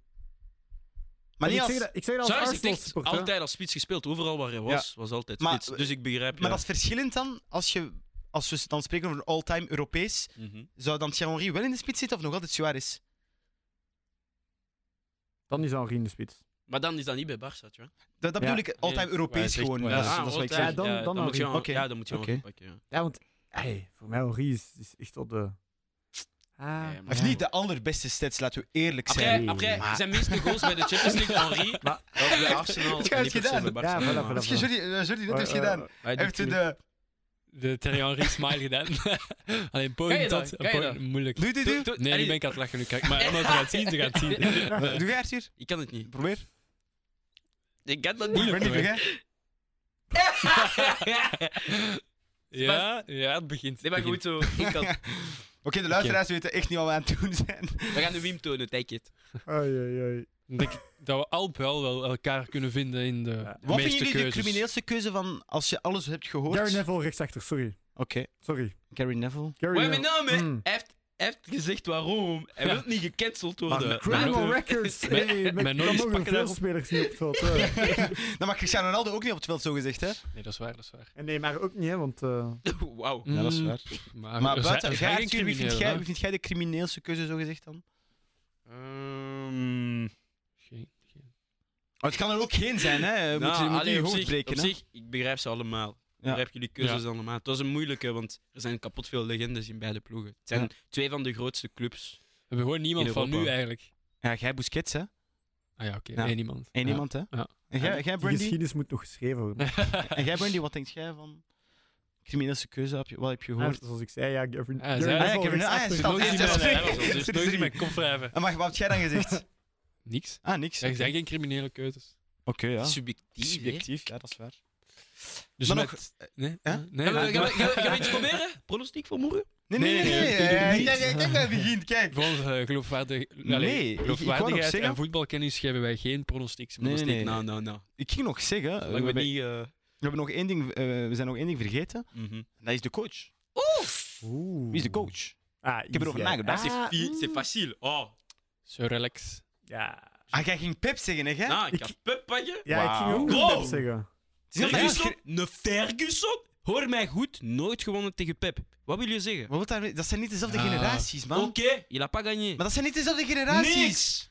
Maar
En
niet
ik,
als...
zeg dat, ik zeg dat als
Suarez heeft
Arsenal
echt
supporter.
altijd als spits gespeeld. Overal waar hij was, was altijd
Maar-
spits. Dus ik begrijp
Maar
ja.
dat is verschillend dan, als, je, als we dan spreken over all-time Europees.
Mhm.
Zou dan Thierry Henry wel in de spits zitten of nog altijd Suarez?
Dan is Henri in de spits.
Maar dan is dat niet bij Barça, tja.
Dat, dat
Ja.
bedoel ik altijd
Nee,
Europees
maar hij zegt-
gewoon.
maar
dat, is,
ja,
dat is wat ik
altijd.
zeg.
Ja, dan-
Ja,
dan
dan moet
Henri.
je Henri-
Oké.
ja, dan moet je Henri
Oké.
pakken, ja.
Ja, want hey, voor mij Henri is, is echt op de... Ah.
Ja, maar-
Hij heeft niet de allerbeste stats, laten we eerlijk zijn.
Après, après zijn meeste goals bij de Champions League, Henri.
Maar-
Dat was bij Arsenal.
Het
en niet per se
gedaan.
bij
Ja,
Barça.
voilà,
maar-
voilà.
Dat is Jordi, eh, Jordi net heeft
Eh, eh,
gedaan.
eh,
Hij heeft de...
De Thierry Henry smile gedaan. (laughs) Alleen
Kan
poging
je dat?
tot...
Kan je
poging- Moeilijk.
Doe, doe, doe.
Doe- doe-
Nee, nu
Allee,
ben ik aan het lachen. Nu kijk. Maar omdat we het zien, ze gaan het
(laughs)
zien.
Doe jij Arthur?
Ik kan het niet.
Probeer.
Ik kan dat
Moeilijk.
niet.
Brandy, doe
hoor.
jij?
Ja, ja, het begint.
Nee, maar
het
goed zo. Ik kan...
Oké, de luisteraars weten echt niet wat we aan het doen zijn.
We gaan de Wim tonen, take it.
Oei, oei, oei.
begint. Ik denk dat we al wel, wel elkaar kunnen vinden in de
Wat
Wat
meeste
vinden jullie de
keuzes.
crimineelste keuze van als je alles hebt gehoord?
Gary Neville rechtsachter, sorry.
Oké,
Sorry.
Gary Neville.
Gary
Wat hebben we
Neville.
nou, man?
Mm.
Hij heeft Hij heeft gezegd waarom. Hij
Ja.
wil niet gecanceld
Maar
worden.
criminal
maar-
(laughs)
records.
Mijn-
Hey,
mijn
met
nootjes
dan mogen
pakken
veel
daarop.
spelers niet op het veld. hè.
Dan mag Cristiano Ronaldo ook niet op het veld, zo gezegd, hè?
Nee, dat is waar, dat is waar.
En nee, maar ook niet, hè, want eh,
(laughs) Wauw.
Ja, dat is
Mm,
waar.
Maar,
Maar
er zijn-
buiten,
er
jij,
zijn
Arthur, wie, vind
criminelen,
jij,
hè?
wie vind jij de crimineelste keuze, zo gezegd dan?
Ehm
Geen- geen-
Maar het kan er ook geen zijn, hè? Moet
nou,
je moet
allee,
je je
op
hoofd
zich-
breken,
Op
hè?
zich, ik begrijp ze allemaal. Ik
Ja.
begrijp jullie keuzes
Ja.
allemaal. Het was een moeilijke, want er zijn kapot veel legendes in beide ploegen. Het zijn
Ja.
twee van de grootste clubs.
We hebben gewoon niemand
In
van nu
Europa.
eigenlijk.
Ja, jij Busquets, hè?
Ah ja, oké,
Ja.
één iemand.
Eén
Ja.
iemand, hè?
Ja.
En jij, jij
die
Brandy?
geschiedenis moet nog geschreven worden.
En jij, Brandy, wat denk jij van crimineelste keuze? Heb je, wat heb je
Ja,
gehoord?
zoals ik zei, ja, Gavin.
Ah, ja,
Gavin
ja,
Nuffel
Gavin-
rechts
ah, ja,
achter.
ze
Nog
staan-
niet
is
in mijn- hè,
drie.
dat
(laughs)
is- dus
Is
nog niet
drie.
in mijn kop wrijven.
En mag, wat heb jij dan gezegd?
Niks.
Ah, niks.
Er
Oké,
zijn geen criminele keuzes.
Oké, ja.
Subjectief. hè?
Subjectief, ja, dat is waar.
Dus
Maar
met...
nog-
Nee?
Hè?
Nee,
Gaan we-
maar-
gaan we- gaan
(laughs)
we- gaan we iets proberen? Pronostiek voor morgen?
Nee, nee, nee.
Nee,
nee,
nee,
nee,
nee,
eh,
nee,
Kijk, kijk, kijk, daar begint, kijk.
Voor onze eh, geloofwaardig...
Nee,
allee,
ik- ik wou nog
geloofwaardigheid en
zeggen-
voetbalkennis geven wij geen pronostics.
Nee, nee, nee.
Nou, nou, nou.
Ik ging nog zeggen, eh, we,
Zolang we
hebben-
niet... eh,
we hebben nog één ding, eh, we zijn nog één ding vergeten.
mhm.
En dat is de coach.
Oeh.
Wie is de coach?
Ah,
Ik heb erover
easy, hè.
nagedacht.
C'est
Ah,
fi- c'est facile. Oh.
Zo relax.
Ja,
Ah, jij ging Pep zeggen, hè? jij?
Nou, ik
Ik-
ga Pep pakken.
ja ik ging ook
Wow.
Pep zeggen.
Het is heel
Ferguson?
erg.
Ne Ferguson? Hoor mij goed, nooit gewonnen tegen Pep. Wat wil je zeggen?
Maar wat daar- dat zijn niet dezelfde
Ah.
generaties, man.
Oké, il a pas gagné.
Maar dat zijn niet dezelfde generaties.
Niks!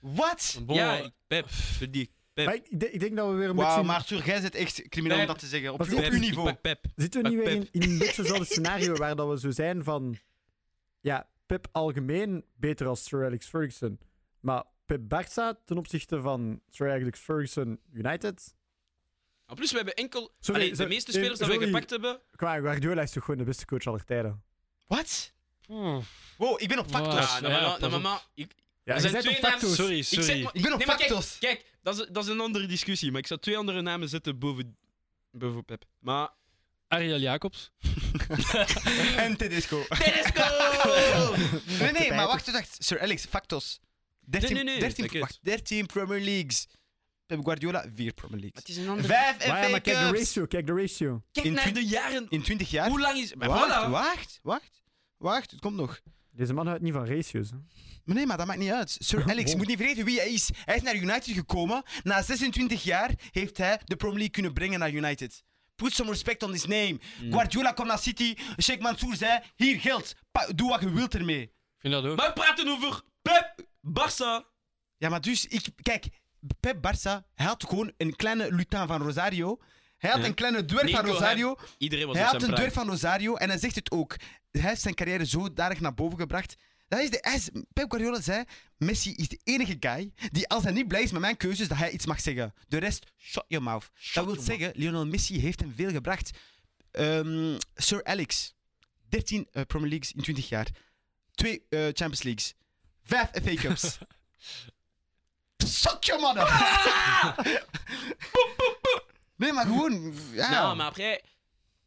Wat?
Bon,
ja,
eh,
ik- Pep, verdien. Pep.
Maar ik, ik denk- ik denk dat we weer een
Wauw,
beetje...
maar Arthur, jij bent echt crimineel om
Pep.
dat te zeggen. Op,
Wat
op
is
Pep,
uw
ik
niveau.
pak Pep.
Zitten we niet
Pak
weer in,
Pep.
in een beetje hetzelfde scenario waar dat we zo zijn van... Ja, Pep algemeen beter als Sir Alex Ferguson. Maar Pep Barca ten opzichte van Sir Alex Ferguson United...
En plus, we hebben enkel...
Sorry,
Allee, de
sorry,
meeste
eh,
spelers die we
sorry.
gepakt hebben...
Qua Guardiola is toch gewoon de beste coach aller tijden.
Wat?
hmm.
Wow, ik ben op factos.
Wow.
Ah, nou, maar,
ja,
nou, nou,
pas op.
maar, maar, ik, Er
Ja, je
zijn
bent
twee
op facto's.
Sorry,
ik zeg,
sorry.
maar,
Ik ben op
nee, maar kijk,
factos.
kijk dat, is, dat is een andere discussie, maar ik zou twee andere namen zetten boven, boven Pep. Maar...
Ariel Jacobs.
En (laughs) Tedesco.
(laughs) Tedesco!
(laughs) Nee, nee, maar wacht, wacht. Sir Alex, factos. 13,
Nee, nee, nee,
13,
kijk
wacht, 13 Premier Leagues. Pep Guardiola, 4 Premier Leagues.
het is een andere...
5
Maar ja,
FA
maar kijk de
Cups.
ratio, kijk de ratio.
Kijk
In
naar
twintig-
de jaren...
In 20 jaar.
Hoe lang is... Maar
Wacht,
Ben voilà.
wacht, wacht. Wacht, het komt nog.
Deze man houdt niet van ratios. hè.
Maar nee, maar dat maakt niet uit. Sir
(laughs)
Alex, je moet niet vergeten wie hij is. Hij is naar United gekomen. Na 26 jaar heeft hij de Premier League kunnen brengen naar United. Put some respect on his name.
Mm.
Guardiola kwam naar City. Sheikh Mansour zei, hier geld. Pa- doe wat je wilt ermee.
Ik vind dat ook.
Maar we praten over Pep, Barça.
Ja, maar dus, ik, kijk, Pep Barça, hij had gewoon een kleine lutin van Rosario. Hij had
Ja.
een kleine dwerg van
Nico,
Rosario.
Iedereen was
Hij
op
had
zijn
een
plek.
deur van Rosario en hij zegt het ook. Hij heeft zijn carrière zodanig naar boven gebracht. Dat is de, hij is- Pep Guardiola zei: Messi is de enige guy die, als hij niet blij is met mijn keuzes, dat hij iets mag zeggen. De rest, shut your mouth. dat wil
your mouth.
zeggen, Lionel Messi heeft hem veel gebracht. Ehm, Sir Alex, 13 eh, Premier Leagues in 20 jaar, 2 eh, Champions Leagues, 5 FA
(laughs)
Cups. Suck your mother!
Ah!
(laughs) Nee, maar gewoon. Ja.
Nou, maar après,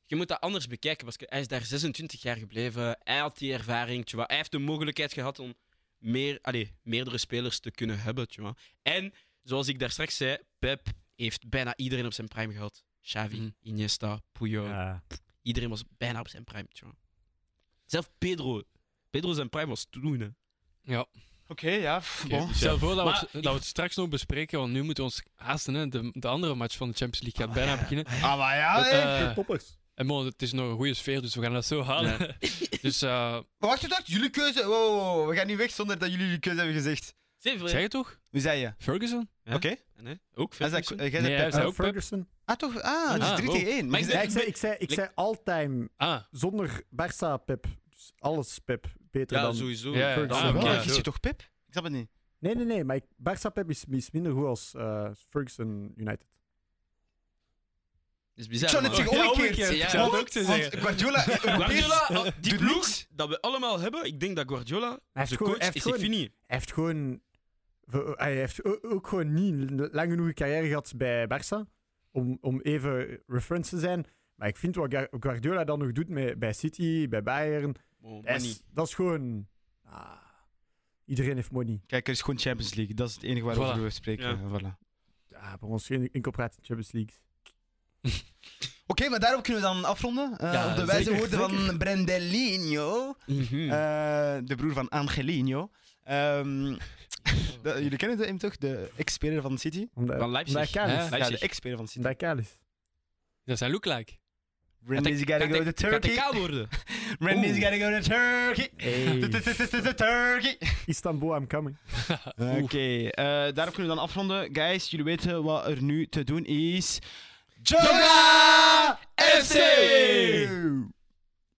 je moet dat anders bekijken. Want hij is daar 26 jaar gebleven. Hij had die ervaring. tu vois. Hij heeft de mogelijkheid gehad om meer, allez, meerdere spelers te kunnen hebben. tu vois. En zoals ik daar straks zei, Pep heeft bijna iedereen op zijn prime gehad. Xavi,
Mhm.
Iniesta, Puyol.
Ja.
Iedereen was bijna op zijn prime. tu vois. Zelf Pedro. Pedro zijn prime was toen. Hè.
Ja.
Oké, ja. pff,
Oké,
bon.
Stel voor dat,
Maar
we, het- dat we het straks nog bespreken, want nu moeten we ons haasten. Hè. De, de andere match van de Champions League gaat bijna beginnen.
Ah, maar ja, hè.
Eh,
Toppers.
en bon, het is nog een goede sfeer, dus we gaan dat zo halen. (laughs) dus eh,
Maar Wacht, wacht, jullie keuze. Wow, wow, wow, we gaan nu weg zonder dat jullie jullie keuze hebben gezegd.
Zeg je?
zeg het toch?
Wie zei je?
Ferguson?
Ja.
Oké.
Nee? Ook
Hij zei,
Ferguson?
eh, jij
Nee,
zei
hij
Pep.
zei
Eh,
ook Pep.
Ferguson.
Ah, toch? Ah, dus
Ah,
3 tegen 1.
Maar ik
Ja, ik zei, ik zei, ik zei all-time
Ah,
zonder Barça Pep. Dus alles Pep beter
Ja,
eh, dan...
sowieso.
Ja, ja.
Ferguson.
Ah, oké.
Ja,
Is je toch Pep? Ik snap het niet.
Nee, nee, nee. Maar ik- Barça Pep is, is minder goed als eh, Ferguson United.
Dat is
Ik
bizar.
zou net
man.
zeggen,
Ja,
omgekeerd.
omgekeerd.
Ja,
Want-
zou
het ook zo
want
zeggen.
(laughs) Guardiola,
Guardiola,
Europees,
oh, die
doet
ploeg
niks.
dat we allemaal hebben, ik denk dat Guardiola,
Hij heeft
de
gewoon-
coach,
Dus hij heeft
is
gewoon-
fini.
Hij heeft gewoon... v- eh, Hij heeft o- ook gewoon niet een lang genoeg een carrière gehad bij Barça. Om, om even reference te zijn. Maar ik vind wat Gar- Guardiola dan nog doet met, bij City, bij Bayern...
Oh,
dat is- dat is gewoon... ah, iedereen heeft money.
Kijk, er is gewoon Champions League. Dat is het enige waarover
Voilà.
we spreken.
Ja.
Voilà. Oké,
Ja, bij ons geen incorporatie Champions League.
maar daarop kunnen we dan afronden. Eh,
Ja,
op de
zeker,
wijze woorden
zeker.
van Brendelinho, eh, de broer van Angelino. Ehm, (laughs) dat- jullie kennen de- hem toch? De ex-speler van City?
Omdat,
Van
omdat hij
Leipzig.
kaal is.
Ja.
Ja, de
Leipzig.
ex-speler van City.
Omdat hij kaal is.
Dat zijn lookalike.
Randy's gotta
Gaat
go to
hij- gaat hij
Turkey.
kaal worden?
Randy's gotta go to Turkey. Turkey.
(laughs) Istanbul, I'm coming.
Oké, eh, daarop kunnen we dan afronden. Guys, jullie weten wat er nu te doen is. Joga FC!